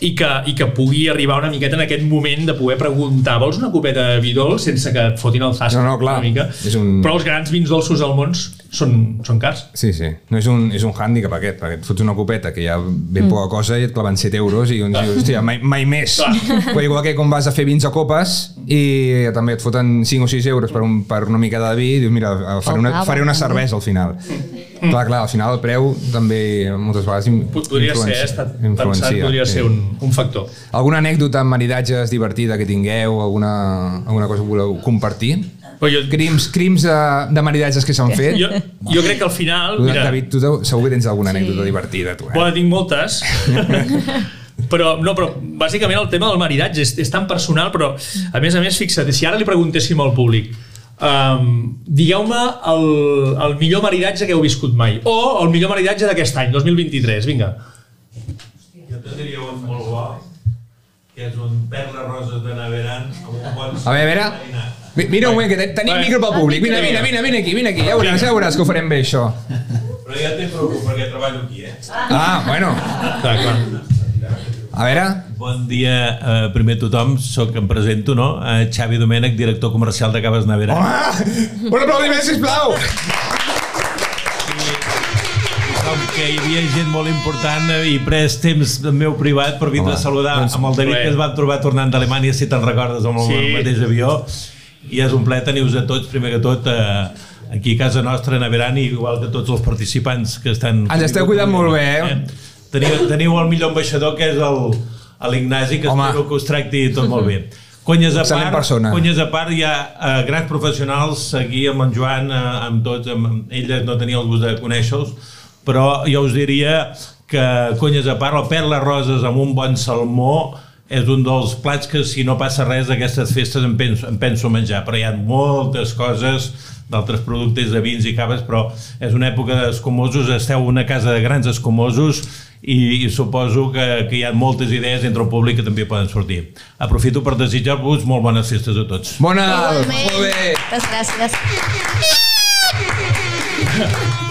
i que, i que pugui arribar una miqueta en aquest moment de poder preguntar vols una copeta de vi dolç sense que et fotin el zasca No, no, clar. una mica. És un- Però els grans vins dolços del món són, són cars. Sí, sí. No és un, és un hàndicap aquest, perquè et fots una copeta que hi ha ben poca cosa i et claven 7 euros i uns dius, hòstia, mai, mai més. Clar. Però igual que quan vas a fer vins a copes i també et foten 5 o 6 euros per, un, per una mica de vi i dius, mira, eh, faré una, cava, faré una també. cervesa al final. Clar, clar, al final el preu també moltes vegades in- Pod- Podria ser, he estat pensant, podria sí. ser un, un factor. Alguna anècdota amb maridatges divertida que tingueu, alguna, alguna cosa que voleu compartir? Però jo, Crims, crims de, de maridatges que s'han fet? Eh, jo, jo crec que al final... Tu, Mira, David, tu deu- segur que tens alguna anècdota divertida, tu, eh? Bueno, tinc moltes. però, no, però bàsicament el tema del maridatge és, és tan personal, però a més a més, fixa't, si ara li preguntéssim al públic um, digueu-me el, el millor maridatge que heu viscut mai o el millor maridatge d'aquest any, 2023, vinga. Jo te diria un molt bo, que és un perles roses de Naveran amb un bon... A veure, a veure... Mi- Mira un moment, que te- tenim Vale. micro pel públic. Vine, vine, vine, vine aquí, vine aquí. Ja veuràs, ja veuràs que ho farem bé, això. Però ja te'n preocupo perquè treballo aquí, eh? Ah, bueno. Clar, clar. A veure... Bon dia, eh, primer a tothom, sóc, em presento, no? Eh, Xavi Domènech, director comercial de Caves Naveran. Home! Un aplaudiment, sisplau! I com que hi havia gent molt important eh, i pres temps del meu privat per vindre Home, a saludar doncs, amb el David plaer. que es vam trobar tornant d'Alemanya, si te'n recordes, amb el Sí. mateix avió. I és un plaer tenir-vos a tots, primer que tot, eh, aquí a casa nostra, a Naveran, i igual que tots els participants que estan... Ens esteu cuidant molt bé, eh? Teniu, teniu el millor ambaixador, que és el- l'Ignasi, que Home. espero que us tracti tot molt bé. Conyes a Excel·lent part, persona. conyes a part, hi ha eh, grans professionals aquí amb en Joan, eh, amb tots, amb, amb elles no tenia el gust de conèixer-los, però jo us diria que conyes a part, el perles roses amb un bon salmó és un dels plats que si no passa res d'aquestes festes em penso, em penso menjar, però hi ha moltes coses d'altres productes de vins i caves, però és una època d'escomosos, esteu una casa de grans escomosos i, i suposo que, que hi ha moltes idees entre el públic que també poden sortir. Aprofito per desitjar-vos molt bones festes a tots. Bon Nadal! Molt bé! Moltes gràcies.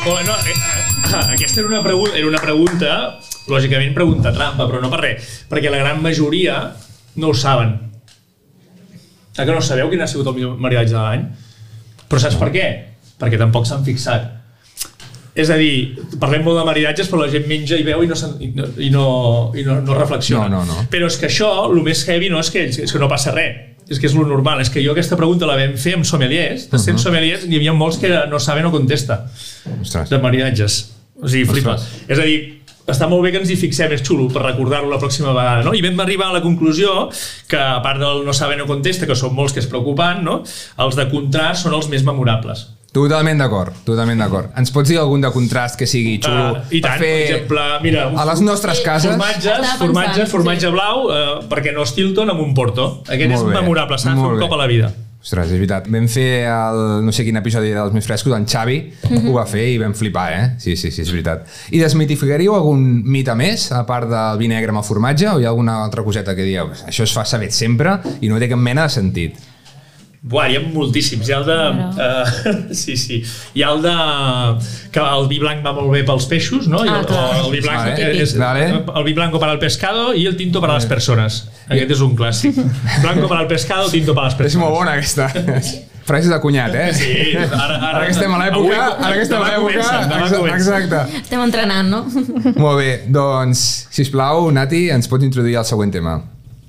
Hola, no, eh, eh, aquesta era una, pregunta, era una pregunta, lògicament pregunta trampa, però no per res, perquè la gran majoria no ho saben. Ja que no sabeu quin ha sigut el millor maridatge de l'any? Però saps per què? Perquè tampoc s'han fixat. És a dir, parlem molt de maridatges, però la gent menja i veu i no, se'n- i no, i no, i no, no reflexiona. No, no, no. Però és que això, el més heavy no és que, és que no passa res. És que és lo normal. És que jo aquesta pregunta la vam fer amb sommeliers. De 100 sommeliers n'hi havia molts que no saben o contesta Ostres. de maridatges. O sigui, flipa. És a dir, està molt bé que ens hi fixem, és xulo, per recordar-ho la pròxima vegada, no? I vam arribar a la conclusió que, a part del no saber no contesta, que són molts que és preocupant, no? Els de contrast són els més memorables. Totalment d'acord, totalment d'acord. Ens pots dir algun de contrast que sigui xulo Ah, I tant, per fer per exemple, mira, a les nostres cases? formatges, Estava formatges, pensant, formatge blau, eh, perquè no Stilton amb un porto. Aquest Molt és bé, memorable, s'ha de fer molt un bé. cop a la vida. Ostres, és veritat. Vam fer el, no sé quin episodi dels més frescos, en Xavi mm -hmm. ho va fer i vam flipar, eh? Sí, sí, sí, és veritat. I desmitificaríeu algun mite més, a part del vi negre amb el formatge, o hi ha alguna altra coseta que dieu, això es fa saber sempre i no té cap mena de sentit? Buah, hi ha moltíssims. Hi ha el de... Uh, sí, sí. Hi ha el de... Que el vi blanc va molt bé pels peixos, no? I Ah, el, clar. el vi blanc Vale, eh, és, vale. El vi blanco para el pescado i el tinto para las personas. Aquest és un clàssic. Blanco para el pescado, tinto para las És personas. molt bona aquesta. Frases de cunyat, eh? Sí, ara- ara- ara que estem a avui- l'època, ara que estem a demà l'època, comencen, demà exa- comencen. exacte. Estem entrenant, no? Molt bé, doncs, sisplau, Nati, ens pots introduir al següent tema.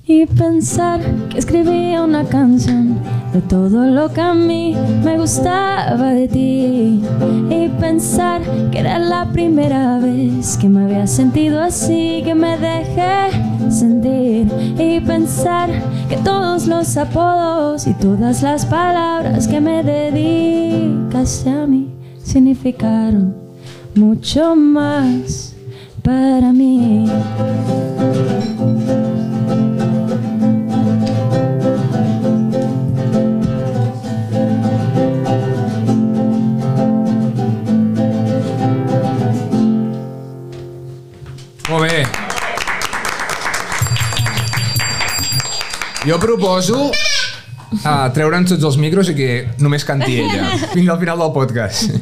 Y pensar que escribía una canción de todo lo que a mí me gustaba de ti. Y pensar que era la primera vez que me había sentido así, que me dejé sentir. Y pensar que todos los apodos y todas las palabras que me dedicaste a mí significaron mucho más para mí. Molt bé. Jo proposo ah, a treure'ns tots els micros i que només canti ella fins al final del podcast.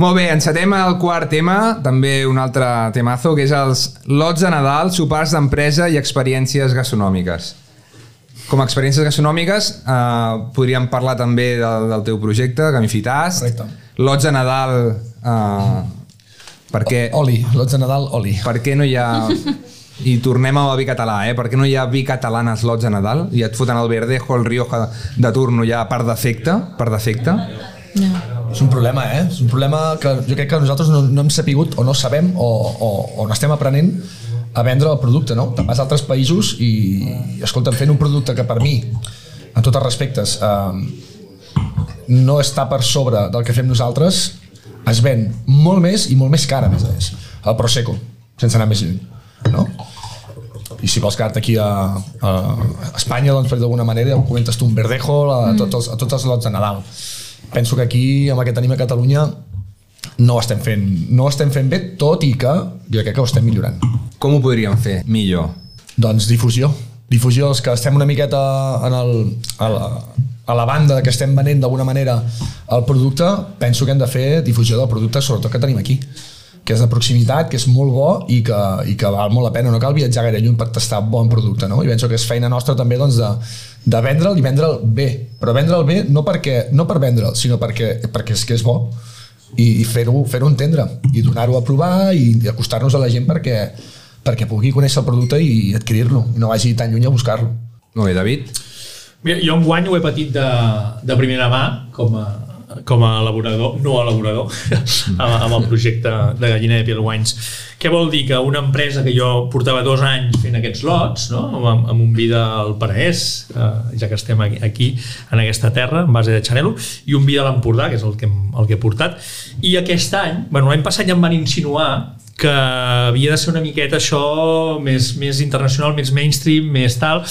Molt bé, encetem el quart tema, també un altre temazo, que és els lots de Nadal, sopars d'empresa i experiències gastronòmiques. Com a experiències gastronòmiques eh, podríem parlar també del, del teu projecte, Gamifitas, Correcte. lots de Nadal... Eh, perquè, Oli, l'11 de Nadal, oli. per què no hi ha... I tornem al vi català, eh? Per què no hi ha vi català en els lots de Nadal? I et foten el Verdejo, el Rioja de turno ja per defecte, per defecte. És un problema, eh? És un problema que jo crec que nosaltres no, no hem sapigut o no sabem o, o, o no estem aprenent a vendre el producte, no? Te'n vas a altres països i, i escolta'm, fent un producte que per mi, en tots els respectes, eh, no està per sobre del que fem nosaltres, es ven molt més i molt més cara, a més a més. El Prosecco, sense anar més lluny, no? I si vols quedar-te aquí a, a Espanya, doncs per d'alguna manera ja ho comentes tu un verdejo a, tots els, a tots els lots de Nadal. Penso que aquí, amb el que tenim a Catalunya, no ho estem fent, no ho estem fent bé, tot i que jo crec que ho estem millorant. Com ho podríem fer millor? Doncs difusió. Difusió, els que estem una miqueta en el, a, la, a la banda que estem venent d'alguna manera el producte, penso que hem de fer difusió del producte, sobretot que tenim aquí que és de proximitat, que és molt bo i que, i que val molt la pena. No cal viatjar gaire lluny per tastar bon producte, no? I penso que és feina nostra també doncs, de, de vendre'l i vendre'l bé. Però vendre'l bé no, perquè, no per vendre'l, sinó perquè, perquè és que és bo i, i fer-ho fer entendre i donar-ho a provar i, i acostar-nos a la gent perquè, perquè pugui conèixer el producte i adquirir-lo i no vagi tan lluny a buscar-lo. Molt bé, David. Mira, jo en guany ho he patit de, de primera mà com a, com a elaborador, no elaborador, amb, amb el projecte de Gallina de Piel Wines. Què vol dir? Que una empresa que jo portava dos anys fent aquests lots, no? amb, amb un vi del Paraès, eh, ja que estem aquí, aquí, en aquesta terra, en base de Xanelo, i un vi de l'Empordà, que és el que, hem, el que he portat. I aquest any, bueno, l'any passat ja em van insinuar que havia de ser una miqueta això més, més internacional, més mainstream, més tal,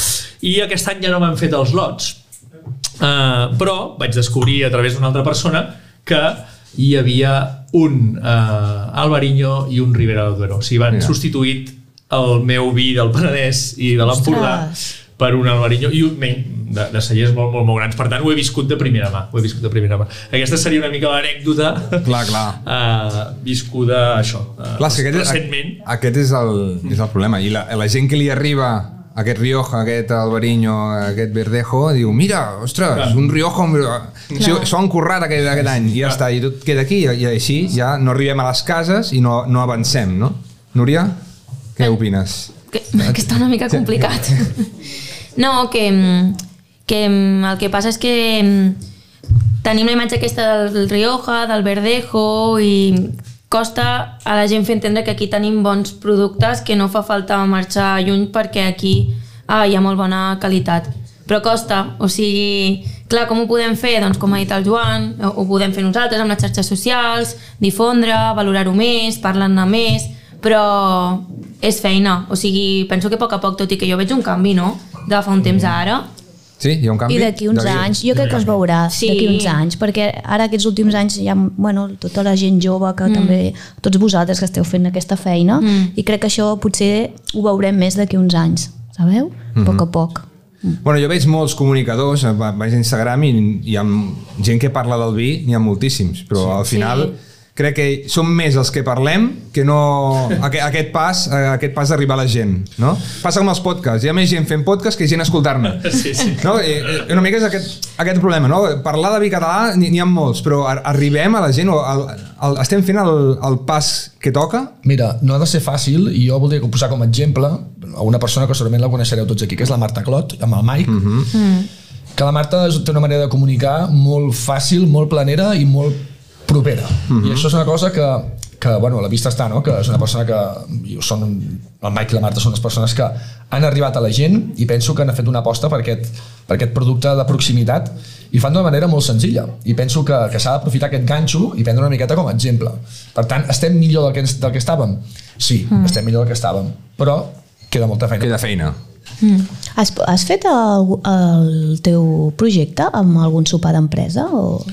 i aquest any ja no m'han fet els lots. Uh, però vaig descobrir a través d'una altra persona que hi havia un uh, Alvariño i un Ribera del Duero. O sigui, van Mira. substituït el meu vi del Penedès i de l'Empordà per un Alvariño i un menys de, de cellers molt, molt, molt grans. Per tant, ho he viscut de primera mà. Ho he viscut de primera mà. Aquesta seria una mica l'anècdota Clar, clar. uh, viscuda això uh, Clar, és que aquest, recentment és, aquest és, el, és el problema. I la, la gent que li arriba aquest Rioja, aquest Albariño, aquest Verdejo, diu, mira, ostres, Clar. un Rioja, un... S'ho s'ho han currat aquest, aquest any, i ja està, i tot queda aquí, i així ja no arribem a les cases i no, no avancem, no? Núria, què opines? que, que està una mica complicat. No, que, mm, que mm, el que passa és que mm, tenim la imatge aquesta del Rioja, del Verdejo i costa a la gent fer entendre que aquí tenim bons productes que no fa falta marxar lluny perquè aquí ah, hi ha molt bona qualitat. Però costa, o sigui, clar, com ho podem fer? Doncs com ha dit el Joan, ho ho podem fer nosaltres amb les xarxes socials, difondre, valorar-ho més, parlar-ne més, però és feina. O sigui, penso que a poc a poc, tot i que jo veig un canvi, no?, de fa un Mm. temps a ara. Sí, hi ha un canvi? I d'aquí uns David? anys, jo crec que es veurà Sí. sí. d'aquí uns anys, perquè ara aquests últims anys hi ha bueno, tota la gent jove que mm. també, tots vosaltres que esteu fent aquesta feina, Mm. mm. i crec que això potser ho veurem més d'aquí uns anys, sabeu? Mm -hmm. Mm-hmm. poc a poc. Bueno, jo veig molts comunicadors, eh, va- vaig a Instagram i hi ha gent que parla del vi, n'hi ha moltíssims, però sí, al final sí. crec que som més els que parlem que no aquest, aquest pas, eh, aquest pas d'arribar a la gent, no? Passa com els podcasts, hi ha més gent fent podcast que gent escoltar-ne. sí, sí. No, eh, eh, una mica és aquest, aquest problema, no? Parlar de vi català n'hi n'hi ha molts, però ar- arribem a la gent, o al, al, estem fent el, el pas que toca? Mira, no ha de ser fàcil i jo voldria posar com a exemple a una persona que segurament la coneixereu tots aquí, que és la Marta Clot, amb el Mike, Mhm. que la Marta és- té una manera de comunicar molt fàcil, molt planera i molt propera. Mhm. I això és una cosa que, que bueno, a la vista està, no? que és una persona que... i Són, el Mike i la Marta són les persones que han arribat a la gent i penso que han fet una aposta per aquest, per aquest producte de proximitat i fan d'una manera molt senzilla i penso que, que s'ha d'aprofitar aquest ganxo i prendre una miqueta com a exemple. Per tant, estem millor del que, ens- del que estàvem? Sí, estem millor del que estàvem, però queda molta feina. Queda feina. Mm. Has, has fet el, el teu projecte amb algun sopar d'empresa o,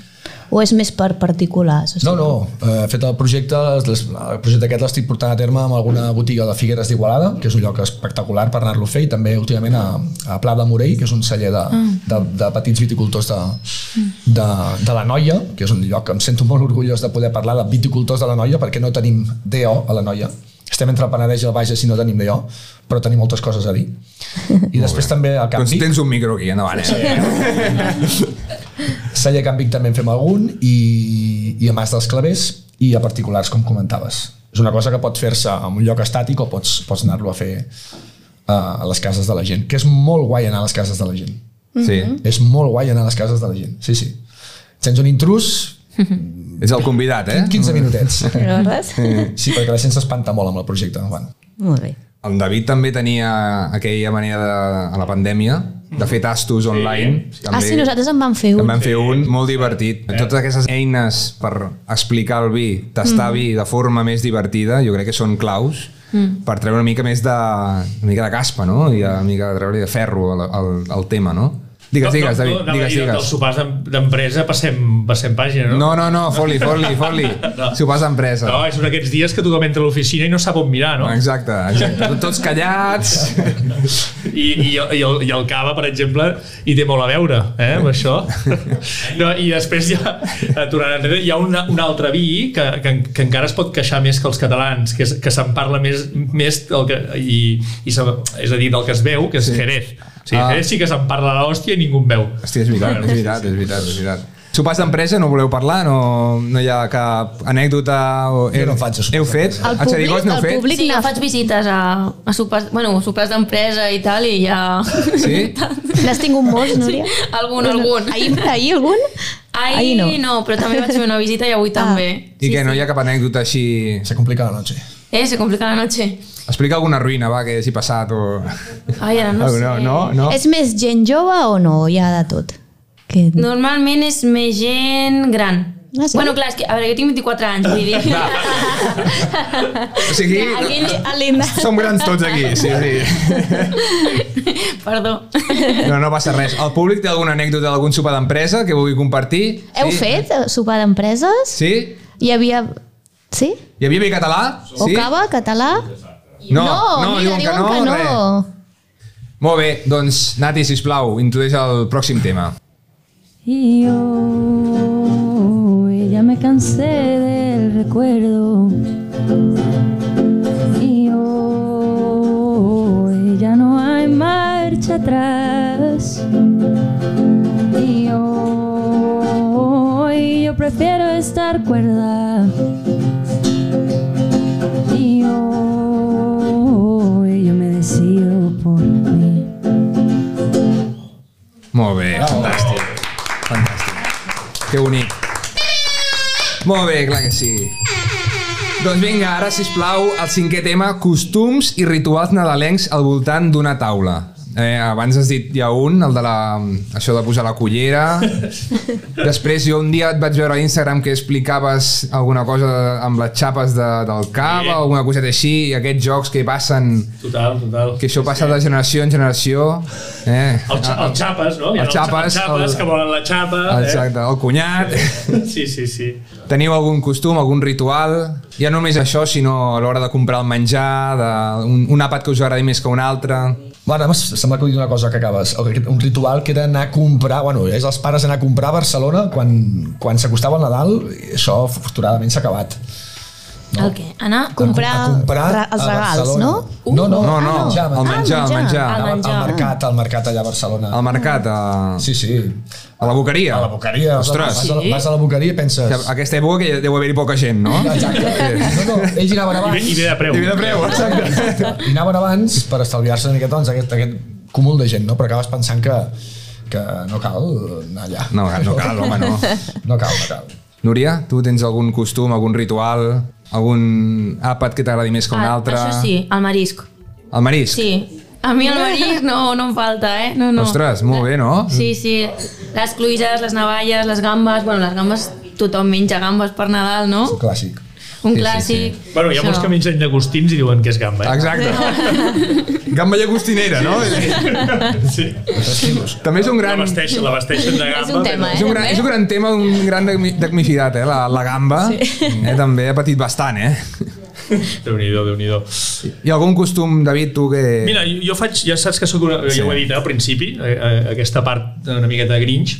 o és més per particulars? O No, no, eh, he fet el projecte, les- el projecte aquest l'estic portant a terme amb alguna botiga de Figueres d'Igualada, que és un lloc espectacular per anar-lo a fer, i també últimament a, a Pla de Morell, que és un celler de, de, de petits viticultors de, de, de la Noia, que és un lloc que em sento molt orgullós de poder parlar de viticultors de la Noia, perquè no tenim DO a la Noia. Estem entre el Penedès i el Bages i no tenim DO, però tenim moltes coses a dir. I després també al Camp Doncs Vic, tens un micro aquí, endavant, eh? Celler Camp Vic també en fem algun, i, i a Mas dels Clavers, i a particulars, com comentaves. És una cosa que pot fer-se en un lloc estàtic o pots, pots anar-lo a fer eh, a les cases de la gent, que és molt guai anar a les cases de la gent. Mhm. Sí. És molt guai anar a les cases de la gent, sí, sí. Sents un intrus, És el convidat, eh? 15 minutets. No, res? Sí, perquè la gent s'espanta molt amb el projecte. Bueno, Molt bé. El David també tenia aquella manera de, a la pandèmia de fer tastos online. També, Ah, sí, nosaltres en vam fer En un. vam fer un molt divertit. Eh. Totes aquestes eines per explicar el vi, Mm. tastar vi de forma més divertida, jo crec que són claus per treure una mica més de, una mica de caspa, no? I una mica de treure de ferro al, al, al tema, no? Digues, digues, David, no, no, digues, Dels digues. sopars d'em- d'empresa passem, passem pàgina, no? No, no, no, fot-li, fot-li, fot-li. No. Si ho passa empresa. No, és un d'aquests dies que tothom entra a l'oficina i no sap on mirar, no? Exacte, exacte. Tots callats. I, i, i, el, i el cava, per exemple, hi té molt a veure, eh, amb això. No, I després ja, eh, tornant enrere, hi ha una, un altre vi que, que, que encara es pot queixar més que els catalans, que, és, que se'n parla més, més del que, i, i se, és a dir, del que es veu, que és sí. Jerez. O sigui, Ah. ah. Jerez sí que se'n parla a l'hòstia i ningú en veu. Hòstia, és veritat, és veritat, és veritat, és veritat. Sopars d'empresa, no voleu parlar? No, no hi ha cap anècdota? O... Jo no faig sopars Heu fet? El A Xerigots públic, n'heu el fet? públic Sí, jo n'ha- faig visites a, a sopars, bueno, a sopars d'empresa i tal, i ja... Sí? N'has tingut molts, Núria? Algun, algun. Ahir, ahir algun? Ahir, ahir no. Ah. no. però també vaig fer una visita i avui també. I que no hi ha cap anècdota així... se complica la noche. Eh, se complica la noche. Explica alguna ruïna, va, que hagi passat o... Ai, ara no, Ah, no, sé. no, no. És més gent jove o no? Hi ha de tot. Que... Normalment és més gent gran. Ah, sí? Bueno, clar, és que, a veure, jo tinc 24 anys, vull dir... O sigui, Aquell, a l'Inda. som grans tots aquí, sí, sí. Perdó. No, no passa res. El públic té alguna anècdota d'algun sopar d'empresa que vulgui compartir? Heu sí? fet eh, sopar d'empreses? Sí? Hi havia... Sí? Hi havia vi català? O sí? cava, català? No, no mira, diuen que no. res. Molt bé, doncs, Nati, sisplau, introdueix el pròxim tema. Y yo ya me cansé del recuerdo. Y yo ya no hay marcha atrás. Y yo, yo prefiero estar cuerda. Y yo, yo me decido por mí. Molt bé, fantàstic. Fantàstic. Que bonic. Molt bé, clar que sí. Doncs vinga, ara, si plau, el cinquè tema, costums i rituals nadalencs al voltant d'una taula. Eh, abans has dit ja un, el de la, això de posar la cullera. Després jo un dia et vaig veure a Instagram que explicaves alguna cosa de, amb les xapes de, del cava, Sí. alguna coseta així, i aquests jocs que passen, Total, total. que això passa de generació en generació. Eh, El, xa- el xapes, no? Hi ha El xapes, els xapes el- que volen la eh? xapa. Exacte, el cunyat. Eh? Sí, sí, sí. Teniu algun costum, algun ritual? Ja no només això, sinó a l'hora de comprar el menjar, de un, un àpat que us agradi més que un altre. Bueno, em sembla que ho dic una cosa que acabes, o que- un ritual que era anar a comprar, bueno, és els pares anar a comprar a Barcelona quan, quan s'acostava el Nadal, i això afortunadament s'ha acabat. No. El què? Anar? Comprar, a comprar ra- els a regals, Barcelona. no? No, no, No, no, menjar, el menjar, el menjar. Ah, Al, al mercat, al mercat allà a Barcelona. Al mercat, a, Sí, sí. a la boqueria. A la boqueria. Ostres, Vas a, la- vas a la boqueria i penses... que a aquesta època que ja deu haver-hi poca gent, no? Exacte. No, no, ells hi anaven I ve, abans. I ve de preu. I ve de preu, exacte. I anaven abans per estalviar-se una miqueta doncs, aquest, aquest cúmul de gent, no? però acabes pensant que, que no cal anar allà. No, no cal, home, no. No cal, no cal. Núria, tu tens algun costum, algun ritual, algun àpat que t'agradi més que un Ah, altre? Això sí, el marisc. El marisc? Sí. A mi el marisc no, no em falta, eh? No, no. Ostres, molt bé, no? Sí, sí. Les cluïses, les navalles, les gambes... Bueno, les gambes tothom menja gambes per Nadal, no? És un clàssic. Un Sí, sí, clàssic. Bueno, hi ha molts que mengen llagostins i diuen que és gamba. Eh? Exacte. Gamba llagostinera, no? Sí. També és un La gran... vesteixen, la vesteixen de gamba. És un tema, És eh? un, gran, és un gran tema, un gran degmi- degmificat, eh? La, la gamba sí. eh? també ha patit bastant, eh? Déu-n'hi-do, déu nhi déu Hi ha algun costum, David, tu que... Mira, jo jo faig, ja saps que sóc una, ja ho he dit eh, al principi, eh, eh, aquesta part una miqueta grinch,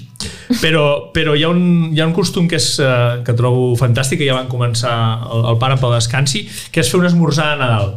Però, però hi, ha un, hi ha un costum que, és, eh, que trobo fantàstic, que ja van començar el, el pare pel descansi, que és fer un esmorzar a Nadal.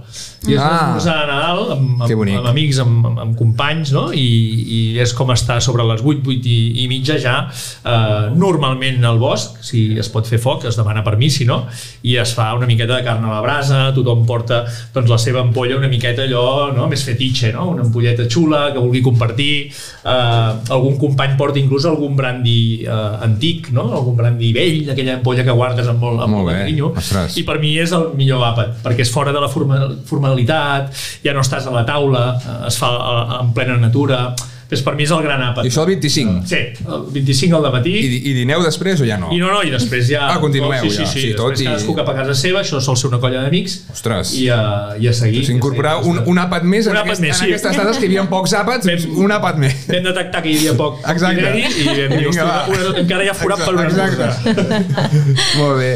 I és ah. un Ah. esmorzar a Nadal amb, Que amb, bonic. amb amics, amb, amb, amb companys, no? I, i és com estar sobre les 8, 8 i, i mitja ja, eh, normalment al bosc, si es pot fer foc, es demana permís, si no, i es fa una miqueta de carn a la brasa, tothom porta doncs, la seva ampolla una miqueta allò no? més fetitxe, no? una ampolleta xula que vulgui compartir, eh, algun company porta inclús algun brandi eh, antic, no? algun brandi vell, aquella ampolla que guardes amb molt, amb Molt molt, de bé, carinyo, ostres. i per mi és el millor àpat, perquè és fora de la forma- formalitat, ja no estàs a la taula, eh, es fa a- en plena natura, Doncs per mi és el gran àpat. I això al 25. Sí, el 25 al matí. I, di- I dineu després o ja no? I no, no, i després ja... Ah, continueu, sí, sí, ja. sí, Sí, sí, tot després i- cadascú cap a casa seva, això sol ser una colla d'amics, Ostres. i, a, i a seguir. S'incorporar un, un àpat més, Un en, àpat aquest, més, en sí. aquestes dates que hi havia pocs àpats, Fem- un àpat més. Vam detectar que hi havia poc Exacte. criteri i vam dir, Vinga, "Ostres, va." una, encara hi ha forat per una Exacte. cosa. Molt bé.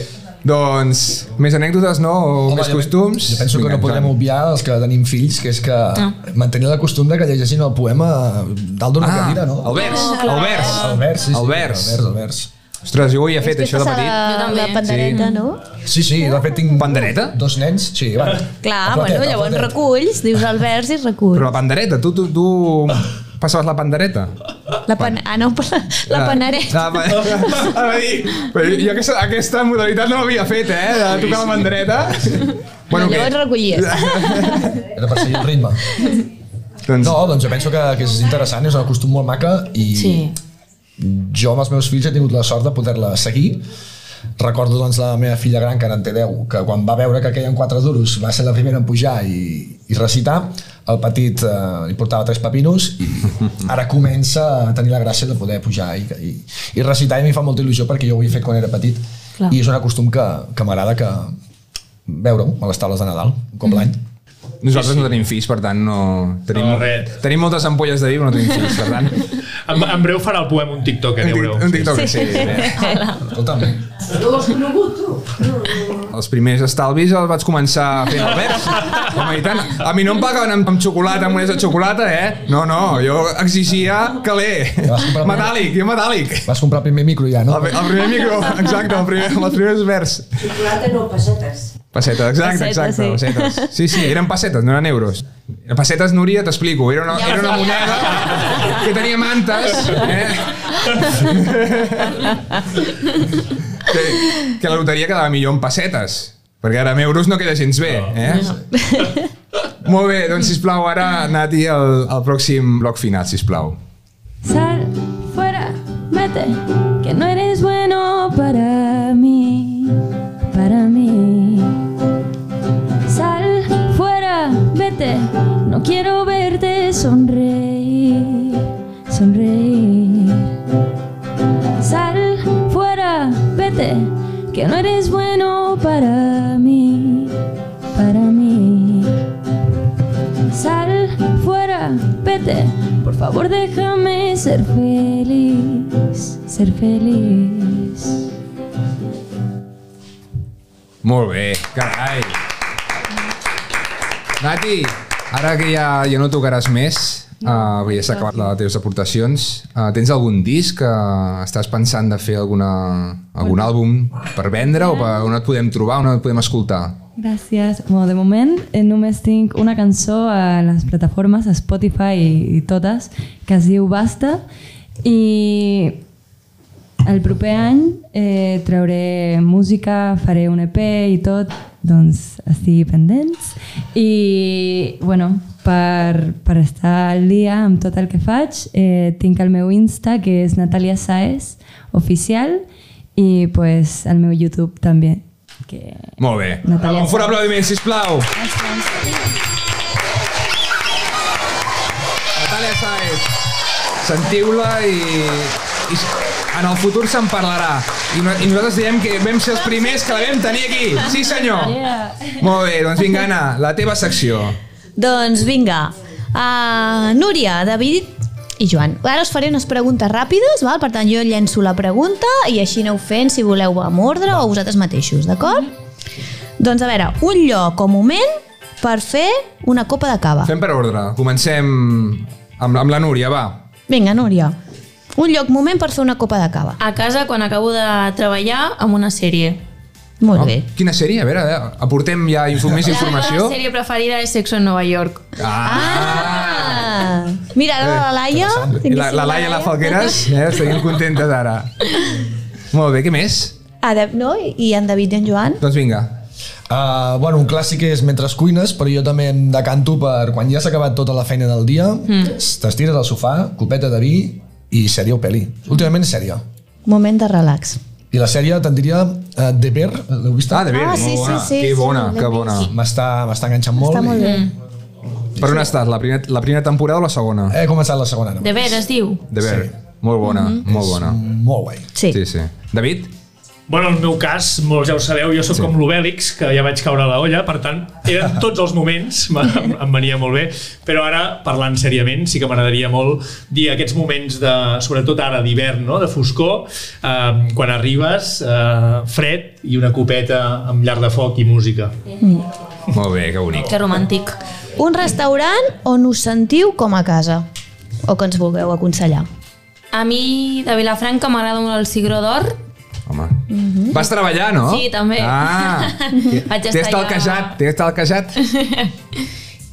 Doncs, més anècdotes, no? O més jo- costums? Jo penso que Vinga, no podrem endavant. obviar els que tenim fills, que és que no. mantenir el costum de que llegeixin el poema dalt d'una Ah, cadira, no? el vers, el vers. El vers, sí, sí. El vers. El vers, el vers. Ostres, jo ho havia fet, És això de passa petit. Jo La, també. la pandereta, no? Sí, sí, de fet tinc Pandereta? dos nens. Sí, va. Clar, El platet, bueno, el llavors platet. reculls, dius el vers i reculls. Però la pandereta, tu, tu, tu passaves la pandereta? La pan... Ah, no, la, la pandereta. La pandereta. Ara dir, però jo aquesta, aquesta modalitat no l'havia fet, eh? De tocar la pandereta. Bueno, què? llavors recollies. Era per seguir el ritme. Doncs, No, doncs jo penso que, que és interessant, és un costum molt maca i sí. jo amb els meus fills he tingut la sort de poder-la seguir. Recordo doncs la meva filla gran, que ara en té 10, que quan va veure que queien quatre duros va ser la primera en pujar i, i recitar, el petit eh, li portava tres papinos i ara comença a tenir la gràcia de poder pujar i, i, i recitar i a mi em fa molta il·lusió perquè jo ho he fet quan era petit Clar. i és un costum que, que m'agrada que veure-ho a les taules de Nadal, un cop l'any. nosaltres no tenim fills, per tant, no... Tenim, No, res. tenim moltes ampolles de vi, però no tenim fills, per tant... En, en breu farà el poema un TikTok, eh, Un, ja tic, veureu. un TikTok, sí. sí. Escolta'm, Els primers estalvis els vaig començar fent el vers. Home, i tant. A mi no em pagaven amb, amb xocolata, amb unes de xocolata, eh? No, no, jo exigia caler. vas comprar el Metàl·lic, jo metàl·lic. vas comprar el primer micro ja, no? El, el primer micro, exacte, el primer, els primers vers. Xocolata no, pessetes. Pessetes, exacte, Pessetes, exacte, sí. pessetes. Sí, sí, eren pessetes, no eren euros. Pessetes, Núria, t'explico, era una, era una moneda que tenia mantes, eh? Que, que la loteria quedava millor en pessetes, perquè ara amb euros no queda gens bé, eh? Molt bé, doncs sisplau, ara Nati, el, el pròxim bloc final, sisplau. Sal fuera, vete, que no eres bueno para mí, para mí. Sal fuera, vete, no quiero verte sonreír, sonreír. Sal fuera, vete, que no eres bueno para mí, para mí. Sal fuera, vete, por favor déjame ser feliz, ser feliz. Molt bé, carai. Nati, ara que ja, ja no tocaràs més, uh, ja s'ha acabat la- les teves aportacions, uh, tens algun disc que estàs pensant de fer alguna, algun àlbum per vendre o per, on et podem trobar, on et podem escoltar? Gràcies. Bueno, de moment eh, només tinc una cançó a les plataformes, a Spotify i, i totes, que es diu Basta i el proper any eh, trauré música, faré un EP i tot, doncs estigui pendents i bueno, per, per estar al dia amb tot el que faig eh, tinc el meu Insta que és Natalia Saez oficial i pues, el meu YouTube també que Molt bé. Natalia Un fort aplaudiment, sisplau. Natàlia Saez, sentiu-la i, i en el futur se'n parlarà. I, no, I nosaltres diem que vam ser els primers que la vam tenir aquí. Sí, senyor. Yeah. Molt bé, doncs vinga, Anna, la teva secció. Doncs vinga, uh, Núria, David i Joan. Ara us faré unes preguntes ràpides, val? per tant jo llenço la pregunta i així aneu fent si voleu amb ordre o vosaltres mateixos, d'acord? Doncs a veure, un lloc o moment per fer una copa de cava. Fem per ordre. Comencem amb, amb la Núria, va. Vinga, Núria. Un lloc, moment per fer una copa de cava. A casa, quan acabo de treballar, amb una sèrie. Molt bé. Quina sèrie? A veure, a veure, aportem ja info, més La informació. meva sèrie preferida és Sexo en Nova York. Ah! Mira, ara la Laia... La, la Laia i la Falqueres, eh, seguim contentes ara. Molt bé, què més? Adep, Ah, no? I en David i en Joan? Doncs vinga. Uh, bueno, un clàssic és mentre cuines, però jo també em decanto per quan ja s'ha acabat tota la feina del dia, Hmm. mm. t'estires al sofà, copeta de vi i sèrie o pel·li. Últimament sèrie. Moment de relax. I la sèrie te'n diria uh, De Bear, l'heu vist? Ah, The Bear, Ah, sí, molt sí, bona. sí, Que sí, bona, l'hem que bona. vist. M'està m'està enganxant molt. Està molt bé. Mm. Per on estàs? La primera, la primera temporada o la segona? He començat la segona. De ver, Doncs. es diu. De ver. Sí. Molt bona, Mhm. molt bona. Molt guai. Sí. sí, sí. David? Bueno, en el meu cas, molts ja ho sabeu, jo sóc sí. com l'Obèlix, que ja vaig caure a la olla, per tant, eren tots els moments, m- em, em venia molt bé, però ara, parlant seriament, sí que m'agradaria molt dir aquests moments, de, sobretot ara d'hivern, no? de foscor, eh, quan arribes, eh, fred i una copeta amb llar de foc i música. Molt bé, que bonic. Que romàntic. Mm. Un restaurant on us sentiu com a casa o que ens vulgueu aconsellar. A mi, de Vilafranca, m'agrada molt el cigró d'or. Home. Mhm. Vas treballar, no? Sí, també. Ah, Vaig t'he estar estalquejat, t'he estalquejat.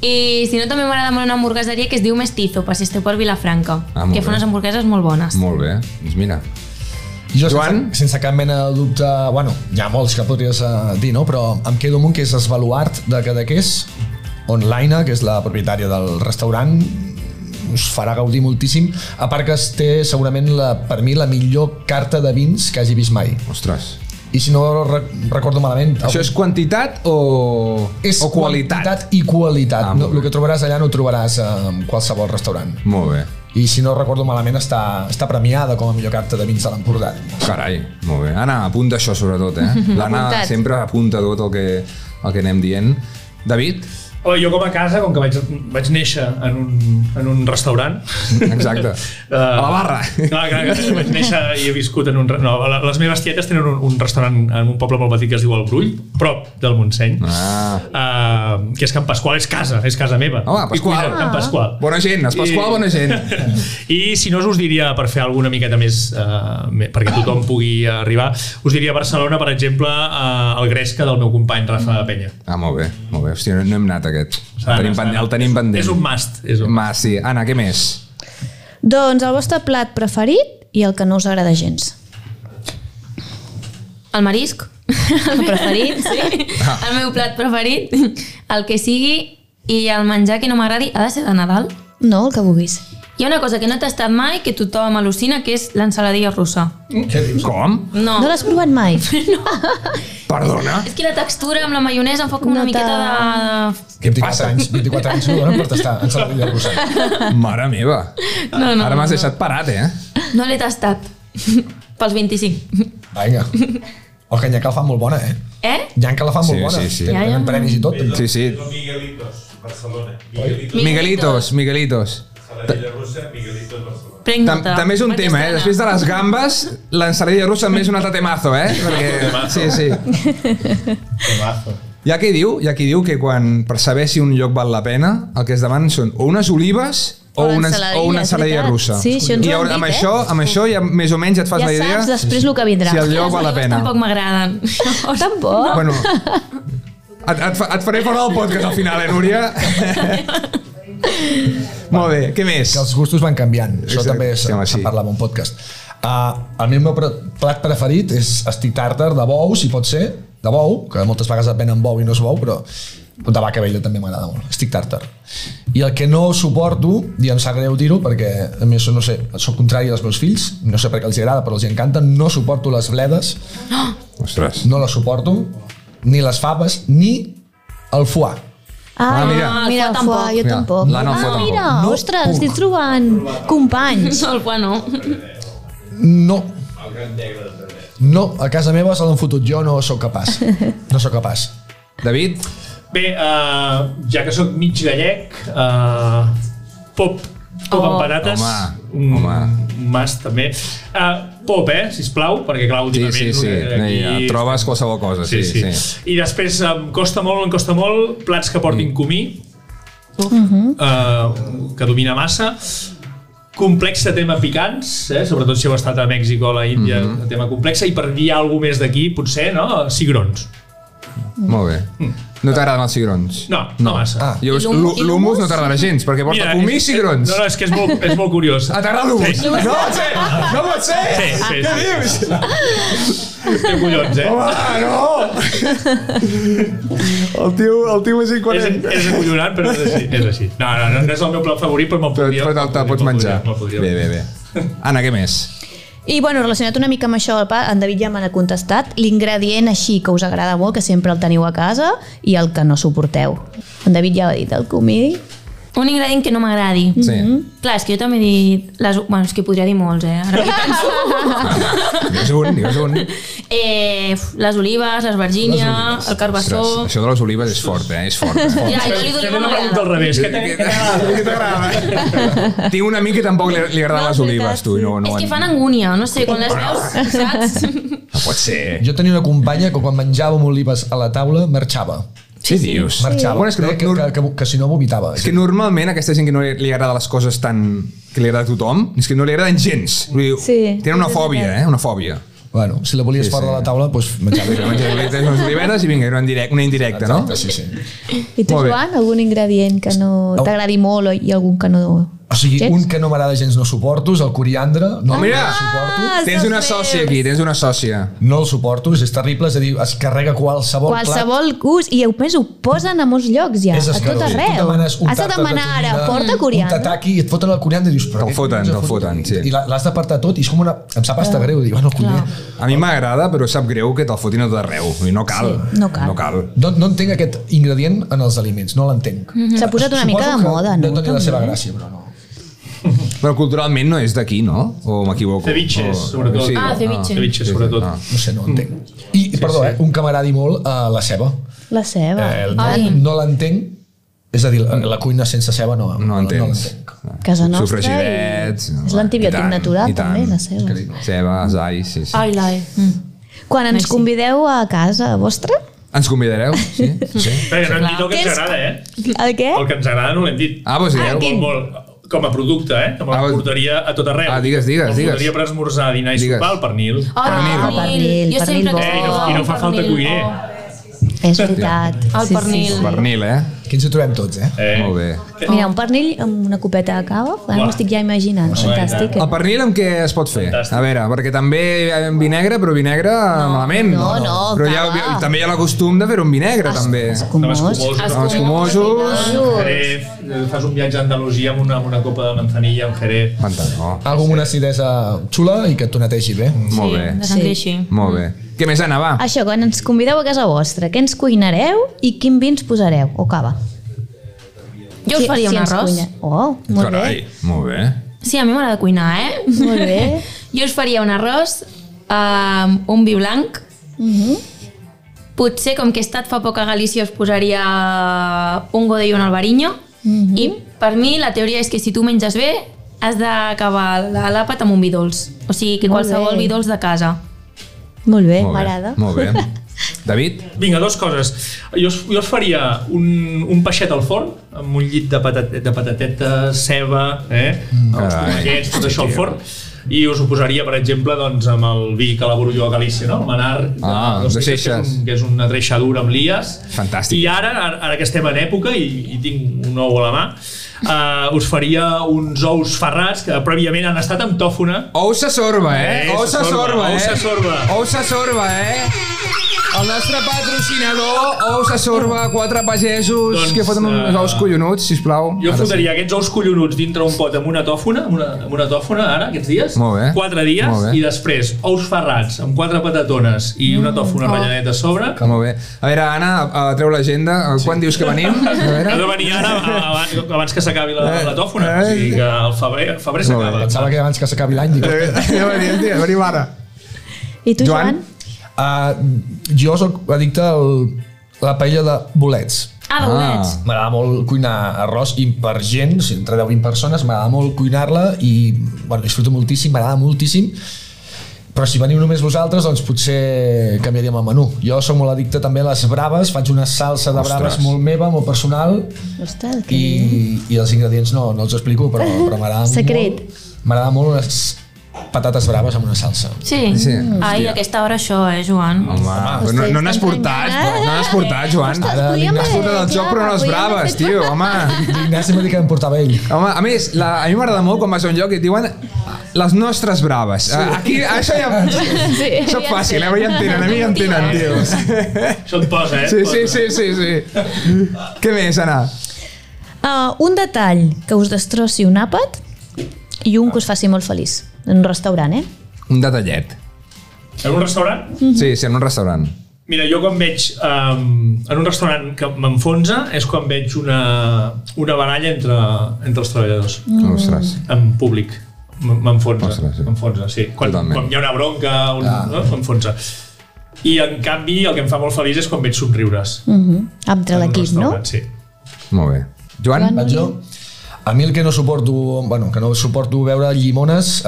I si no, també m'agrada molt una hamburgueseria que es diu Mestizo, per si esteu per Vilafranca, Ah, ah, molt que fa bé. unes hamburgueses molt bones. Molt bé, doncs mira. Jo Joan? Sense, sense cap mena de dubte, bueno, hi ha molts que podries eh, dir, no? però em quedo amb un que és Esvaluart de Cadaqués, online, que és la propietària del restaurant, us farà gaudir moltíssim, a part que es té segurament la, per mi la millor carta de vins que hagi vist mai. Ostres. I si no re recordo malament... Això és quantitat o, és o qualitat? quantitat i qualitat. Ah, no, el que trobaràs allà no ho trobaràs eh, en qualsevol restaurant. Molt bé. I si no recordo malament està, està premiada com a millor carta de vins de l'Empordà. Carai, molt bé. Anna, apunta això sobretot, eh? L'Anna Apuntat. sempre apunta tot el que, el que anem dient. David? Home, jo com a casa, com que vaig, vaig néixer en un, en un restaurant... Exacte. Uh, a la barra. Clar, clar, clar, vaig néixer i he viscut en un... re- No, la- les meves tietes tenen un, un restaurant en un poble molt petit que es diu El Brull, prop del Montseny, ah. uh, que és Can Pasqual, és casa, és casa meva. Home, Pasqual. Ah. I cuina, Can Pasqual. Bona gent, es Pasqual, bona gent. I si no us diria, per fer alguna miqueta més, eh, perquè tothom pugui arribar, us diria Barcelona, per exemple, eh, el Gresca del meu company Rafa Penya. Ah, molt bé, molt bé. Hòstia, no, no hem anat a aquest. d'anar, El tenim, pendent, s'ha d'anar. el tenim pendent. És un must. És un must, sí. Anna, què més? Doncs el vostre plat preferit i el que no us agrada gens. El marisc, el preferit, sí. Ah. El meu plat preferit, el que sigui, i el menjar que no m'agradi ha de ser de Nadal. No, el que vulguis. Hi ha una cosa que no he tastat mai que tothom al·lucina, que és l'ensaladilla russa. Mm, Què dius? Com? No. No l'has provat mai? Perdona? És que la textura amb la maionesa em fa com una miqueta de... Què et passa? Anys, 24 anys no donen per tastar ensaladilla russa. Mare meva. No, no, Ara m'has no. deixat parat, eh? No l'he tastat. Pels 25. Vinga. El canyacal fa molt bona, eh? Eh? Llanca la fa molt Sí, bona. sí, sí. Tenen Ja, ja. premis i tot. Sí, sí. Miguelitos, Barcelona. Miguelitos, Miguelitos. Saladilla russa, Miguelitos, Barcelona. Prenc Tam nota. també és un tema, eh? Després de les gambes, l'ensaladilla russa també és un altre temazo, eh? Perquè, sí, sí. Hi ha qui diu, hi ha qui diu que quan, per saber si un lloc val la pena, el que es demanen són o unes olives o, O una, l'ensaladilla, o una és ensaladilla veritat. russa. Sí, això ens I ho han ara, amb, dit, eh? això, amb això ja més o menys et fas ja la idea saps després el que vindrà. si el lloc val la Les pena. Tampoc m'agraden. Tampoc. Bueno, et, et, fa- et faré fora del podcast al final, eh, Núria? Molt bé, què més? Que els gustos van canviant. Això Exacte, també sí, home, se'n sí. sí. parlava un podcast. Uh, el meu meu pre- plat preferit és estir tàrtar de bou, si pot ser, de bou, que moltes vegades et venen bou i no és bou, però de vaca vella també m'agrada molt, estic tàrtar. I el que no suporto, i em sap greu dir-ho, perquè a més no sé, sóc contrari als meus fills, no sé per què els agrada, però els hi encanta, no suporto les bledes, Ostres. no les suporto, ni les faves, ni el foie. Ah, Ah, mira. mira, el el foie foie, jo Mira, tampoc. la no el foie ah, tampoc. mira, No ostres, puc. estic trobant companys. No, el pa no. No. No, a casa meva se l'han fotut jo, no sóc capaç. No sóc capaç. David? Bé, uh, ja que sóc mig gallec, uh, pop, pop oh. amb patates. Home, home. Un Mas, també. Uh, pop, eh, sisplau, perquè clar, Sí, últimament... sí, sí. eh, Aquí... aquí- Trobes qualsevol cosa, sí, sí. sí. I després eh, em costa molt, em costa molt, Mm. plats que portin comí, Mhm. eh, que domina massa, complex tema picants, eh? sobretot si heu estat a Mèxic o a la Índia, Mm-hmm. mm -hmm. tema complexa, i per dir alguna més d'aquí, potser, no? Cigrons. Molt bé. No t'agraden els cigrons? Mm. No, no, massa. Ah, llavors, I l'hum- l'hu- i l'humus? l'humus no t'agrada gens, perquè porta Mira, comí i és- cigrons. No, no, és que és molt, és molt curiós. Ah, t'agrada l'humus? Sí. No pot ser! No pot ser! Sí, sí, Què sí. dius? Té collons, eh? Home, no! El tio, el tio és És, incoherent. és acollonant, però és així. És així. No, no, no, no és el meu plat favorit, però me'l podria... Però te'l pots menjar. Bé, bé, bé. Anna, què més? I bueno, relacionat una mica amb això, el pa, en David ja me n'ha contestat, l'ingredient així que us agrada molt, que sempre el teniu a casa, i el que no suporteu. En David ja ho ha dit, el comí. Un ingredient que no m'agradi. Sí. Mhm. Clar, és que jo també he dit... Les... Bueno, és que podria dir molts, eh? Ara que hi penso. Digues un, digues un. eh, uf, les olives, les vergínies, el carbassó... Ostres, això de les olives és fort, eh? És fort. Ja, jo li dono una pregunta al revés. Què t'agrada? Què t'agrada? Tinc un amic que tampoc li, li agraden les olives, tu. i No, no, És que no, fan angúnia, no sé, quan les veus, saps? pot ser. Jo tenia una companya que quan menjàvem olives a la taula marxava. Sí, sí. dius? Marxava. Bueno, és que, que no- que, que, que, que si no vomitava. És que normalment aquesta gent que no li, li agrada les coses tan... que li agrada a tothom, és que no li agraden gens. Vull dir, sí, tenen una és fòbia, veritat. eh? Una fòbia. Bueno, si la Sí, volies sí, fora sí. de la taula, doncs menjar Sí, menjar olivetes, unes oliveres i vinga, era una, direc una indirecta, no? Exacte, sí, sí. I tu, Molt bé. Joan, algun ingredient que no t'agradi molt o- i algun que no... O sigui, un que no m'agrada gens no suporto és el coriandre. Oh, No, mira, suporto. tens una sòcia aquí, tens una sòcia. No el suporto, és terrible, és a dir, es carrega qualsevol, qualsevol gust i a més ho posen a molts llocs ja, És a tot escandalós. Tu arreu demanes un has de tàrtar de demanar ara, tonyina, porta un coriandre tataki i et foten el coriandre i dius... Però Te'l foten, te'l foten, sí. I la- l'has d'apartar tot i és com una... Em sap Oh. pasta greu, dic, bueno, cuiner. A mi m'agrada, però sap greu que te'l fotin a tot arreu. Vull dir, No cal. Sí, no cal. No cal. No, no entenc aquest ingredient en els aliments, no l'entenc. Mhm. S'ha posat una Suposo mica de que moda, no? Deu tenir la seva També. gràcia, però no. Però culturalment no és d'aquí, no? O m'equivoco? Ceviches, sobretot. Ah, ceviche. Ceviche, sobretot. Ah, No sé, no entenc. I, sí, perdó, eh, un que m'agradi molt, eh, la ceba. la ceba Eh, el, Ai, no, no l'entenc, és a dir, la, la cuina sense ceba no, no, no entens. l'entenc. casa nostra i... Sofregidets... és l'antibiòtic natural també, la ceba Cebes, ai, sí, sí. ai, l'ai quan ens convideu a casa vostra Ens convidareu? Sí? sí. Perquè no hem dit el que ens agrada, eh? el què? El que ens agrada no l'hem dit. Ah, doncs digueu. Ah, molt, quin? molt, com a producte, eh? Que me l'emportaria a tot arreu. doncs- Ah, digues, digues, Me'l digues. portaria per esmorzar, dinar i Digues. sopar al pernil. Oh, pernil, pernil. Jo sempre Eh, i, no, I no fa falta cuiner. és veritat El pernil. Pernil, eh? Que ens hi trobem tots, eh? eh. Molt bé. mira, un pernil amb una copeta de cava ara Uah. m'estic ja imaginant fantàstic El pernil amb què es pot fer? A veure, perquè també amb vi negre, però vi negre no, malament. no, no, però hi ha, cava. també hi ha la costum de fer un vi negre, també. Escumós. Amb escumosos. Jerez, eh, fas un viatge a Andalusia amb una, amb una copa de manzanilla, amb jerez. Pantanó. Algo Eh, amb una acidesa xula i que et tonetegi bé. Molt bé. s'engreixi. Molt bé. Què més, Anna, va? això, quan ens convideu a casa vostra què ens cuinareu i quin vi ens posareu o cava Jo us Si- faria si un ens arròs. cuina- Oh, molt bé. Carai, molt bé. Sí, a mi m'agrada cuinar, eh? Molt bé. Jo us faria un arròs, um, un vi blanc, Mhm. potser com que he estat fa poc a Galícia us posaria un godell i un albariño, Mm-hmm. i Mhm. per mi la teoria és que si tu menges bé has d'acabar la- l'àpat amb un vi dolç. O sigui, que Molt qualsevol bé. vi dolç de casa. Molt bé, Molt bé, m'agrada. molt bé. David? Vinga, dues coses. Jo, us- jo us faria un, un peixet al forn, amb un llit de, patat, de patatetes, ceba, eh? Mm. els Carai. tomallets, tot això al forn. I us ho posaria, per exemple, doncs, amb el vi que elaboro jo a Galícia, no? el manar, de, Ah, dos de litres, que, és xeixes. un, que és una dreixadura amb lies. Fantàstic. I ara, ara, ara que estem en època i, i tinc un ou a la mà, eh, us faria uns ous ferrats que prèviament han estat amb tòfona. Ous se sorba, eh? Ous se sorba, eh? Ous se sorba. Ous se sorba, eh? El nostre patrocinador, ous se sorba, quatre pagesos Doncs, que foten uns eh, ous collonuts, sisplau. Jo Ara fotria aquests ous collonuts dintre un pot amb una tòfona, amb una, amb una tòfona ara, aquests dies, Molt bé. quatre dies, Molt bé. i després ous ferrats amb quatre patatones i una tòfona ratlladeta a sobre. Que molt bé. A veure, Anna, a- a treu l'agenda. Sí. Quan dius que venim? A Ha veure. Eh. de venir ara abans, abans que s'acabi la, la tòfona, o sigui que el febrer, el febrer Molt bé. s'acaba. Pensava que Eh, abans que s'acabi l'any, dic... Ja venim, tia, venim ara. I tu, Joan? Uh, jo sóc addicte al, a la paella de bolets. Ah, de bolets. M'agrada molt cuinar arròs i per gent, o sigui, entre 10 i 20 persones, m'agrada molt cuinar-la i bueno, disfruto moltíssim, m'agrada moltíssim. Però si veniu només vosaltres, doncs potser canviaríem el menú. Jo sóc molt addicte també a les braves, faig una salsa de Ostres. braves molt meva, molt personal, Ostres, que... i, i els ingredients no, no els explico, però, però m'agrada Secret. molt. M'agrada molt les patates braves amb una salsa. Sí. Sí, sí. hòstia. Ai, a aquesta hora això, eh, Joan? Home, no, no n'has portat, no n'has portat, Joan. Ara N'has portat el joc, però no les braves, tio, home. L'Ignasi m'ha dit que em portava ell. Home, a més, la, a mi m'agrada molt quan vas a un lloc i et diuen les nostres braves. Sí. Aquí, ah, això ja... Sí, Sí, això ja és fàcil, en eh? ja en tenen, a mi ja en tenen, tio. Això et posa, eh? Sí, sí, sí, sí, sí. Què més, Anna? Uh, un detall que us destrossi un àpat i un que us faci molt feliç. En un restaurant, eh? Un detallet. Mm-hmm. En un restaurant? Sí, sí, en un restaurant. Mira, jo quan veig um, en un restaurant que m'enfonsa és quan veig una, una baralla entre, entre els treballadors. Mm. Ostres. En públic. M- M'enfonsa. M'enfonsa, sí. Quan, quan hi ha una bronca, un, ah. no? m'enfonsa. I en canvi el que em fa molt feliç és quan veig somriures. Uh -huh. Entre l'equip, no? Sí. Molt bé. Joan? Vaig jo? A mi el que no suporto, bueno, que no suporto veure llimones eh,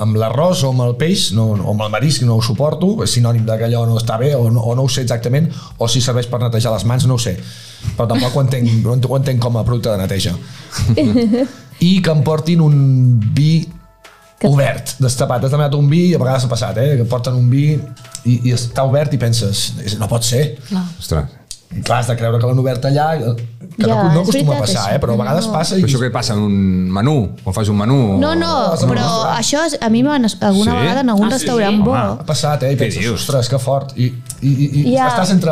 amb l'arròs o amb el peix, no, o amb el marisc no ho suporto, és sinònim de que allò no està bé o no, o no ho sé exactament, o si serveix per netejar les mans, no ho sé. Però tampoc ho entenc, no ho entenc com a producte de neteja. I que em portin un vi obert, destapat. Has demanat un vi i a vegades ha passat, eh? que porten un vi i, i està obert i penses, "És- no pot ser. Clar. Ostres. I clar, has de creure que l'han obert allà, que Ja, no, no és acostuma a veritat, passar, això. eh? però a vegades No. passa Però i això què passa en un menú? Quan fas un menú? o- No, no, o- però això és- a mi m'han alguna Sí? vegada en algun Ah, sí, sí. restaurant bo. Home. ha passat, eh? I Què penses, dius? ostres, que fort. I, i, i, i Ja. estàs entre...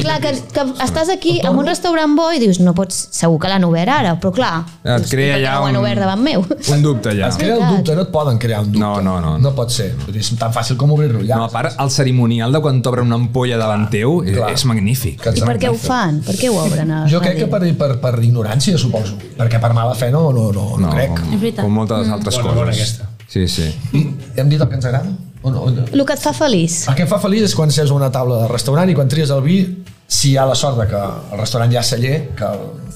Clar, que, que estàs aquí en un restaurant bo i dius, no pots, segur que l'han obert ara, però clar, Et crea ja allà ho han obert un, davant meu. un dubte, allà. Es crea el dubte, no et poden crear un dubte. No, no, no. No pot ser. Vull dir, És tan fàcil com obrir-lo allà. No, a part, el cerimonial de quan t'obren una ampolla davant teu és, és magnífic. Que I per què ho fan? Per què ho obren? a- Jo crec que per, per, per ignorància, suposo. Perquè per mala fe no, no, no, no, no crec. Com, com Mm. moltes altres Bona, coses. bona aquesta. Sí, sí. Hem dit el que ens agrada? O no, o no? El que et fa feliç. El que em fa feliç és quan seus a una taula de restaurant i quan tries el vi, si hi ha la sort de que el restaurant hi ha celler, que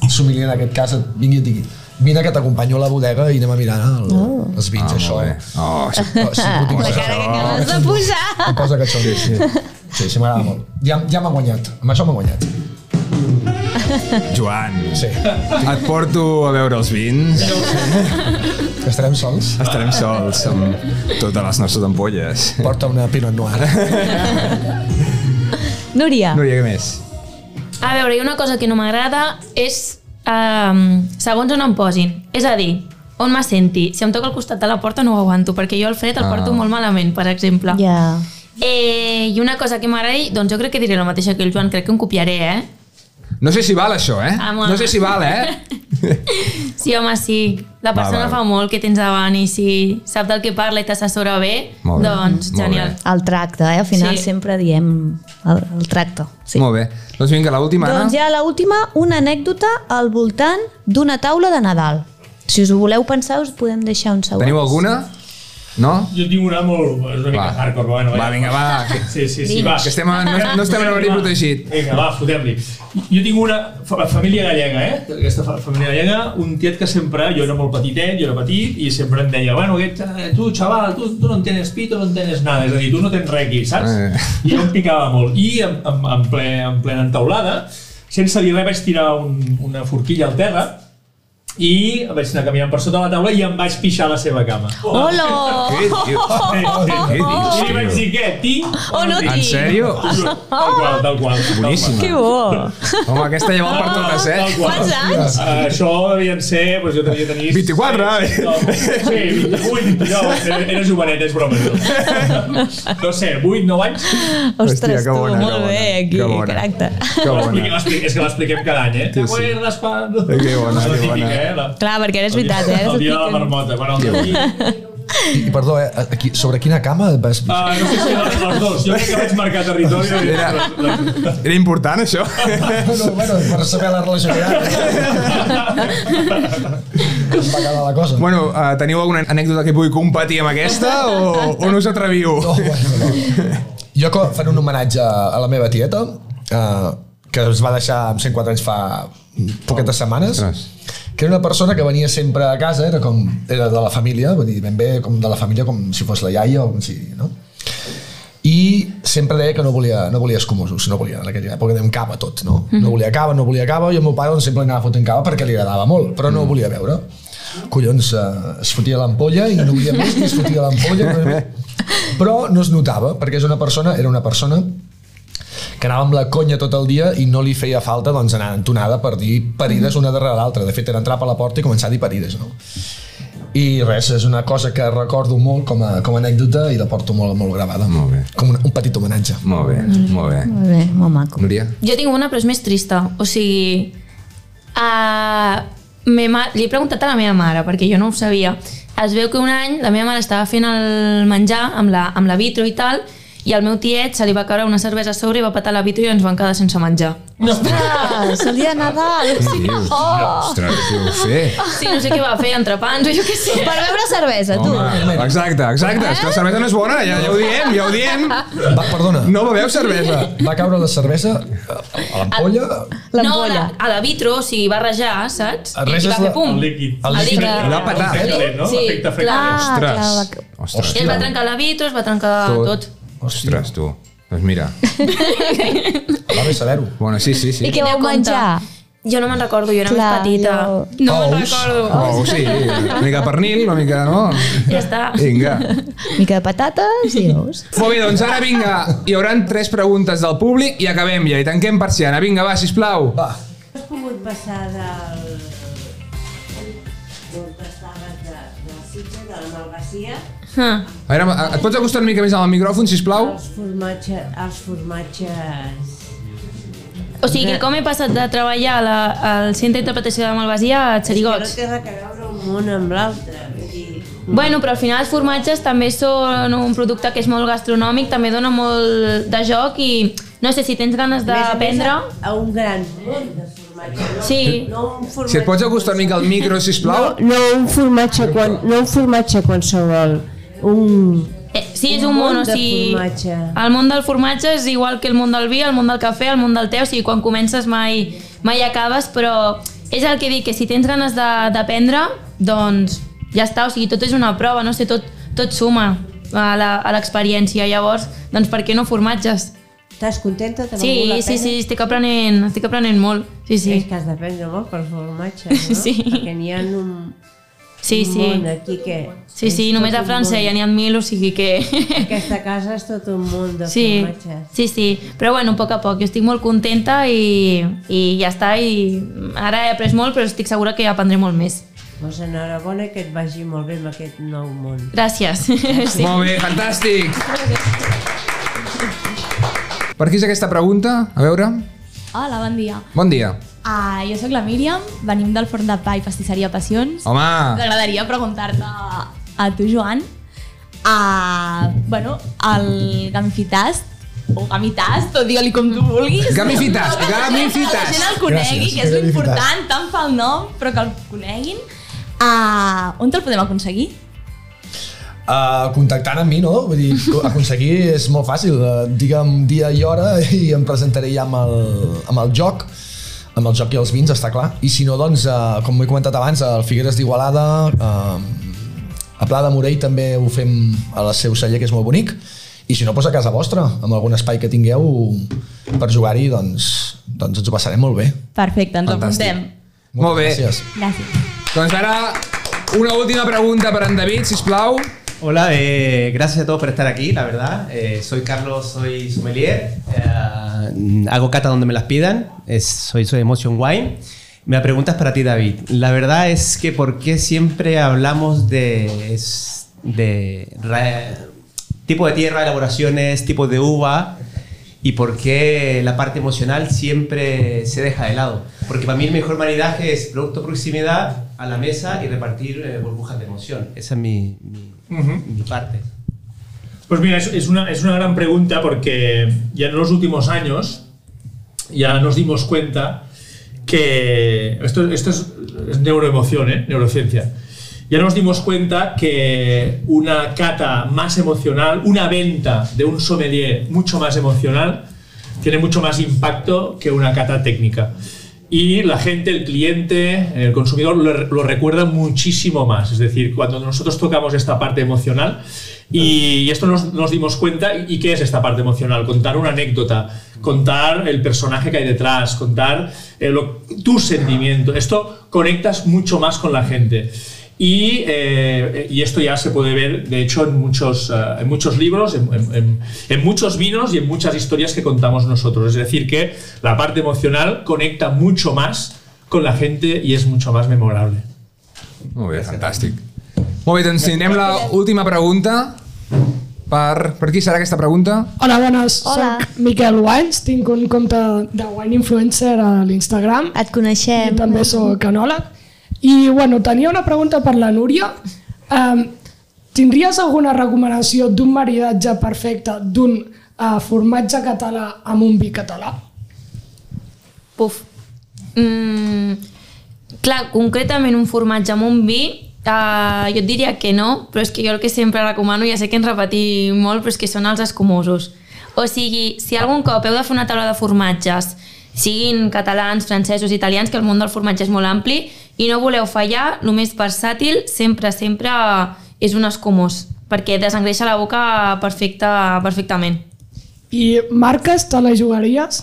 el sommelier en aquest cas et vingui i et digui vine que t'acompanyo a la bodega i anem a mirar el, oh. els vins, ah, això. Oh, sí. Oh, sí, Oh, puto, La cara que acabes de posar. Em posa que xoli. Sí, sí, sí m'agrada molt. Ja, ja m'ha guanyat, amb això m'ha guanyat. Joan, Sí. et porto a veure els vins. Que estarem sols. Estarem sols amb totes les nostres ampolles. Porta una Pinot Noir. Núria, Núria, què més? A veure, hi ha una cosa que no m'agrada és um, segons on em posin. És a dir, on me senti. Si em toca al costat de la porta no ho aguanto, perquè jo el fred el Ah. porto molt malament, per exemple. ja. Eh, I una cosa que m'agradi, doncs jo crec que diré la mateixa que el Joan, crec que em copiaré, eh? No sé si val això, eh? Ah, molt. No sé si val, eh? Sí, home, sí. La Va, persona va. fa molt que tens davant i si sap del que parla i t'assessora bé, Molt bé, doncs molt genial. bé. El tracte, eh? al final Sí. sí. sempre diem el, el tracte. Sí. Molt bé. Doncs vinga, l'última, Anna. Doncs ja l'última, una anècdota al voltant d'una taula de Nadal. Si us ho voleu pensar, us podem deixar un segon. Teniu alguna? No? Jo tinc una molt... És una mica Va. hardcore, però bueno. Va, ja. vinga, va. Sí, sí, sí, va. Que estem a- no- no estem en horari protegit. Vinga, va, fotem-li. Jo tinc una fa- família gallega, eh? Aquesta fa- família gallega, un tiet que sempre, jo era molt petitet, jo era petit, i sempre em deia, bueno, aquest, eh, tu, xaval, tu, tu no tienes pito, no tienes nada, és a dir, tu no tens res aquí, saps? Eh. I jo em picava molt. I en, en, en, ple, en plena entaulada, sense dir res, vaig tirar un, una forquilla al terra, i vaig anar caminant per sota la taula i em vaig pixar a la seva cama. Hola! Què dius? Sí, sí. Què dius, I li vaig dir, tio? què, tinc O Oh, no En tinc? Oh! sèrio? Tal qual, tal qual. Boníssima. Que bo! Home, aquesta ja val Ah, per totes, eh? Tal qual. Quants anys? Uh, això devien ser, doncs jo devia tenir... 24, eh? eh? Sí, 28, 29, era, era jovenet, és broma. No, no sé, 8, 9 anys? Ostres, que tu, bona, que molt bona, bé, aquí, que bona. caracte. Que L'expliquem- bona. l'expliquem- És que l'expliquem cada any, eh? Sí, sí. Te acuerdas cuando... Eh, Que bona, És la que bona. típica, eh? La- Clar, perquè ara és el dia- veritat, eh? Ara El dia de la s'expliquen. marmota. Bueno, el dia... I, i perdó, eh? Aquí, sobre quina cama et vas... Ah, no sé si les, les dos. Jo crec que vaig marcar territori. Era, era important, això? Bueno, bueno, per saber la relació que hi ha. Em va quedar la cosa. Bueno, eh, teniu alguna anècdota que pugui competir amb aquesta o, o no us atreviu? No, bueno, no. Jo co- faré un homenatge a la meva tieta, eh, que es va deixar amb 104 anys fa poquetes setmanes, Ostres. que era una persona que venia sempre a casa, era com era de la família, vull dir, ben bé com de la família, com si fos la iaia o com si... No? i sempre deia que no volia, no volia escumosos, no volia, en aquella època dèiem cava tot, no? No volia cava, no volia cava, i el meu pare doncs, sempre anava fotent cava perquè li agradava molt, però no ho volia veure. Collons, eh, es fotia l'ampolla i no volia més, i es fotia l'ampolla, però- però no es notava, perquè és una persona, era una persona que anava amb la conya tot el dia i no li feia falta doncs, anar entonada per dir parides una darrere l'altra. De fet, era entrar per la porta i començar a dir parides. No? I res, és una cosa que recordo molt com a, com a anècdota i la porto molt, molt gravada. Molt bé. Com un, un petit homenatge. Molt bé, molt bé. Molt bé, molt maco. Núria? Jo tinc una, però és més trista. O sigui, a... me ma... li he preguntat a la meva mare, perquè jo no ho sabia. Es veu que un any la meva mare estava fent el menjar amb la, amb la vitro i tal, i al meu tiet se li va caure una cervesa a sobre i va patar la vitro i ens van quedar sense menjar. No. Ostres, el dia de Nadal! Què dius? Ostres, què heu fet? Sí, no sé què va fer, entrepans o jo què sé. Per beure cervesa, tu. Ah, Home, exacte, exacte. És que Eh? la cervesa no és bona, ja, ja ho diem, ja ho diem. Va, perdona. No beveu cervesa. Va caure la cervesa a a l'ampolla? No, a la, a la vitro, o sigui, va rajar, saps? El I, res i va és la- fer pum. el líquid. El El líquid. líquid. Va petar. Freglet, no? Sí, L'efecte freglet. clar. clar, va Ostres. I es va trencar la vitro, es va trencar tot. tot. Ostres, tu. Doncs mira. Va bé saber-ho. Bueno, sí, sí, sí. I què vau Quina menjar? Jo no me'n recordo, jo era Clar, més petita. jo- No me'n Ous. recordo. Oh, sí, una mica pernil, una mica, no? Ja està. Vinga. Mica de patates i ous. Molt bé, doncs ara vinga, hi hauran tres preguntes del públic i acabem ja, i tanquem persiana. Vinga, va, sisplau. Va. Has pogut passar del... D'on estaves de, de la sitja, de la malvasia, Ah. A veure, et pots acostar una mica més al micròfon, sisplau? als formatges... Als formatges... O sigui Eh. que com he passat de treballar a la, al centre d'interpretació de Malvasia a És Xerigots. que no té res a veure un món amb l'altre. vull dir, Bueno, però al final els formatges també són un producte que és molt gastronòmic, també dona molt de joc i no sé si tens ganes a més a d'aprendre... més, A un gran món de formatge. No, Sí. no un formatge... Si et pots acostar una mica al micro, sisplau. No, no un formatge, quan, no un formatge qualsevol, un... Eh, sí, és un, món, o de sigui... formatge. El món del formatge és igual que el món del vi, el món del cafè, el món del te, o sigui, quan comences mai, mai acabes, però és el que dic, que si tens ganes de- d'aprendre, doncs ja està, o sigui, tot és una prova, no sé, tot, tot suma a la- a l'experiència, llavors, doncs per què no formatges? Estàs contenta? T'ha valgut la Sí, sí, pena? sí, estic aprenent, estic aprenent molt, sí, És sí, que has d'aprendre molt pel formatge, no? Sí. Perquè n'hi ha un, sí, un sí. món aquí que... Sí, sí, és només tot a un França món. ja n'hi ha mil, o sigui que... Aquesta casa és tot un món de Sí, formatges. sí, sí, però bueno, a poc a poc, jo estic molt contenta i, i ja està, i ara he après molt, però estic segura que aprendré molt més. Doncs enhorabona que et vagi molt bé amb aquest nou món. Gràcies. Sí. Molt bé, fantàstic. Per qui és aquesta pregunta? A veure. Hola, bon dia. Bon dia. Uh, jo sóc la Míriam, venim del Forn de Pa i Pastisseria Passions. Home, M'agradaria preguntar-te a tu, Joan, a, bueno, el gamifitast, o gamitast, o digue-li com tu vulguis. Gamifitast, Però que la gent- gamifitast. Que la gent el conegui, Gràcies, que és gamifitast. l'important, tant pel nom, però que el coneguin. Uh, on te'l podem aconseguir? Uh, contactant amb mi, no? Vull dir, co- aconseguir és molt fàcil. Uh, digue'm dia i hora i em presentaré ja amb el, amb el joc amb el joc i els vins, està clar. I si no, doncs, uh, com he comentat abans, al Figueres d'Igualada, uh, a Pla de Morell també ho fem a la seu celler, que és molt bonic. I si no, doncs a casa vostra, amb algun espai que tingueu per jugar-hi, doncs, doncs ens ho passarem molt bé. Perfecte, ens Fantàstic. apuntem. molt bé. Gràcies. Gràcies. Doncs ara, una última pregunta per en David, sisplau. Hola, eh, gracias a todos por estar aquí, la verdad. Eh, soy Carlos, soy sommelier. Eh, hago cata donde me las pidan. Es- soy, soy Emotion Wine. Me preguntas para ti, David. La verdad es que ¿por qué siempre hablamos de, es- de ra- tipo de tierra, elaboraciones, tipo de uva? ¿Y por qué la parte emocional siempre se deja de lado? Porque para mí el mejor maridaje es producto proximidad a la mesa y repartir eh, burbujas de emoción. Esa es mi- mi, mi parte. Pues mira, es, es una, es una gran pregunta porque ya en los últimos años ya nos dimos cuenta que. Esto, esto es, es neuroemoción, ¿eh? Neurociencia. Ya nos dimos cuenta que una cata más emocional, una venta de un sommelier mucho más emocional, tiene mucho más impacto que una cata técnica. y la gente, el cliente, el consumidor lo, lo recuerda muchísimo más. Es decir, cuando nosotros tocamos esta parte emocional y, y esto nos, nos dimos cuenta, ¿y qué es esta parte emocional? Contar una anécdota, contar el personaje que hay detrás, contar eh, lo- tu sentimiento. Esto conectas mucho más con la gente. Y, eh, y esto ya se puede ver, de hecho, en muchos, eh, en muchos libros, en, en- en- en muchos vinos y en muchas historias que contamos nosotros. Es decir, que la parte emocional conecta mucho más con la gente y es mucho más memorable. Molt bé, fantàstic. Molt bé, doncs tindrem l'última pregunta per... Per qui serà aquesta pregunta? Hola, bones. Hola. Soc Miquel Wines, tinc un compte de Wine Influencer a l'Instagram. Et coneixem. I també sóc enòleg. I, bueno, tenia una pregunta per la Núria. Um, tindries alguna recomanació d'un maridatge perfecte d'un uh, formatge català amb un vi català? Puf. Mm, clar, concretament un formatge amb un vi, eh, jo et diria que no, però és que jo el que sempre recomano, ja sé que ens repetim molt, però és que són els escumosos. O sigui, si algun cop heu de fer una taula de formatges, siguin catalans, francesos, italians, que el món del formatge és molt ampli, i no voleu fallar, el més versàtil sempre, sempre és un escumós, perquè desengreixa la boca perfecta, perfectament. I marques te la jugaries?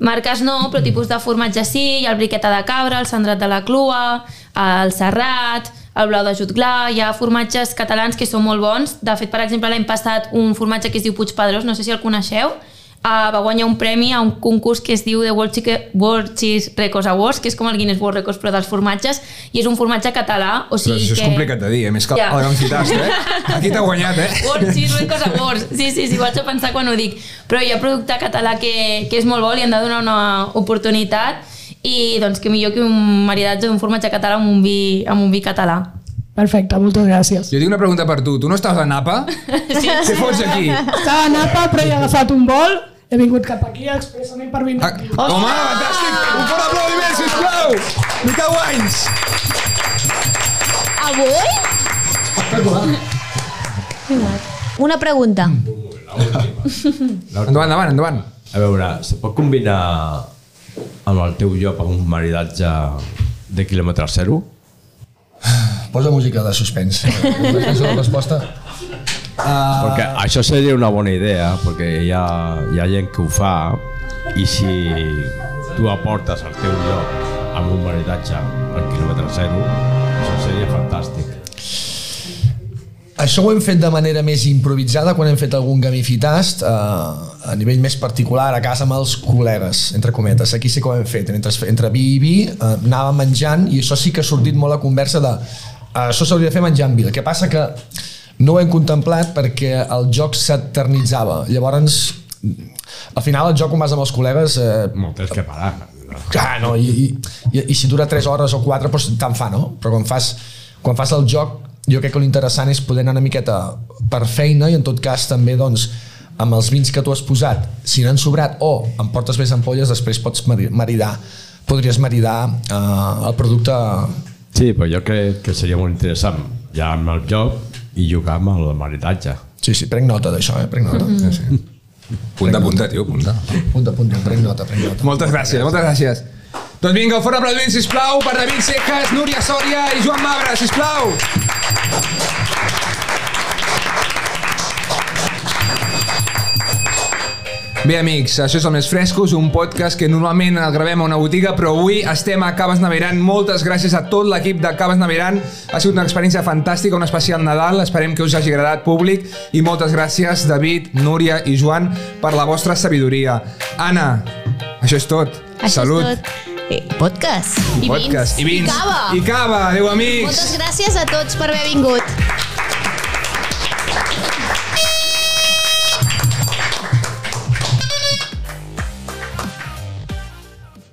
Marques no, però tipus de formatge sí, hi ha el briqueta de cabra, el sandrat de la clua, el serrat, el blau de jutglà, hi ha formatges catalans que són molt bons. De fet, per exemple, l'any passat un formatge que es diu Puig Pedrós, no sé si el coneixeu, eh, va guanyar un premi a un concurs que es diu The World, Chique, World Cheese Records Awards, que és com el Guinness World Records però dels formatges, i és un formatge català, o Però sigui això és que... complicat de dir, eh? més que Ja. yeah. el Gancitast, eh? Aquí t'ha guanyat, eh? Words, sí, és cosa words. Sí, sí, sí, vaig a pensar quan ho dic. Però hi ha producte català que, que és molt bo, li han de donar una oportunitat i doncs que millor que un maridatge d'un formatge català amb un vi, amb un vi català. Perfecte, moltes gràcies. Jo tinc una pregunta per tu. Tu no estàs a Napa? Sí. Què fots aquí? Estava a Napa, però he agafat un vol, he vingut cap aquí expressament per vindre aquí. Ah, Home, Ah. fantàstic! Un fort aplaudiment, sisplau! Mica Wines! Avui? Una pregunta. Mm. Endavant, endavant, endavant. A veure, se pot combinar amb el teu lloc amb un maridatge de quilòmetre zero? Posa música de suspens. És la resposta. Ah. Uh... Uh, Perquè això seria una bona idea, perquè hi ha, hi ha gent que ho fa i si tu aportes el teu lloc amb un maridatge al quilòmetre zero, això seria fantàstic. Uh, Això ho hem fet de manera més improvisada quan hem fet algun gamifitast eh, a nivell més particular a casa amb els col·legues, entre cometes. Aquí sí que ho hem fet, entre, entre vi i vi eh, anàvem menjant i això sí que ha sortit molt la conversa de eh, això s'hauria de fer menjant vi. El que passa que no ho hem contemplat perquè el joc s'eternitzava. Llavors, al final el joc quan vas amb els col·legues... Eh, Molt tens que parar. Clar, no, i, i, i, i si dura 3 hores o 4, doncs tant fa, no? Però quan fas, quan fas el joc, jo crec que l'interessant és poder anar una miqueta per feina i en tot cas també, doncs, amb els vins que tu has posat, si n'han sobrat o em portes més ampolles, després pots mari- maridar, podries maridar eh, el producte... Sí, però jo crec que seria molt interessant ja amb el joc i jugar amb el maridatge. Sí, sí, prenc nota d'això, eh? Prenc nota. Mhm. Sí, sí. Punta, punta, tio, punta. Punta, punta, prenc nota, prenc nota. Moltes gràcies, moltes gràcies. Doncs vinga, un fort aplaudiment, sisplau, per David Cejas, Núria Sòria i Joan Mabre, sisplau! Bé, amics, això és el Més Frescos, un podcast que normalment el gravem a una botiga, però avui estem a Caves Naveran. Moltes gràcies a tot l'equip de Caves Naveran. Ha sigut una experiència fantàstica, un especial Nadal. Esperem que us hagi agradat, públic. I moltes gràcies, David, Núria i Joan, per la vostra sabidoria. Ana, això és tot. Això Salut. és tot. Eh, podcast. Podcast. I vins. I cava. I cava. Adéu, amics. Moltes gràcies a tots per haver vingut.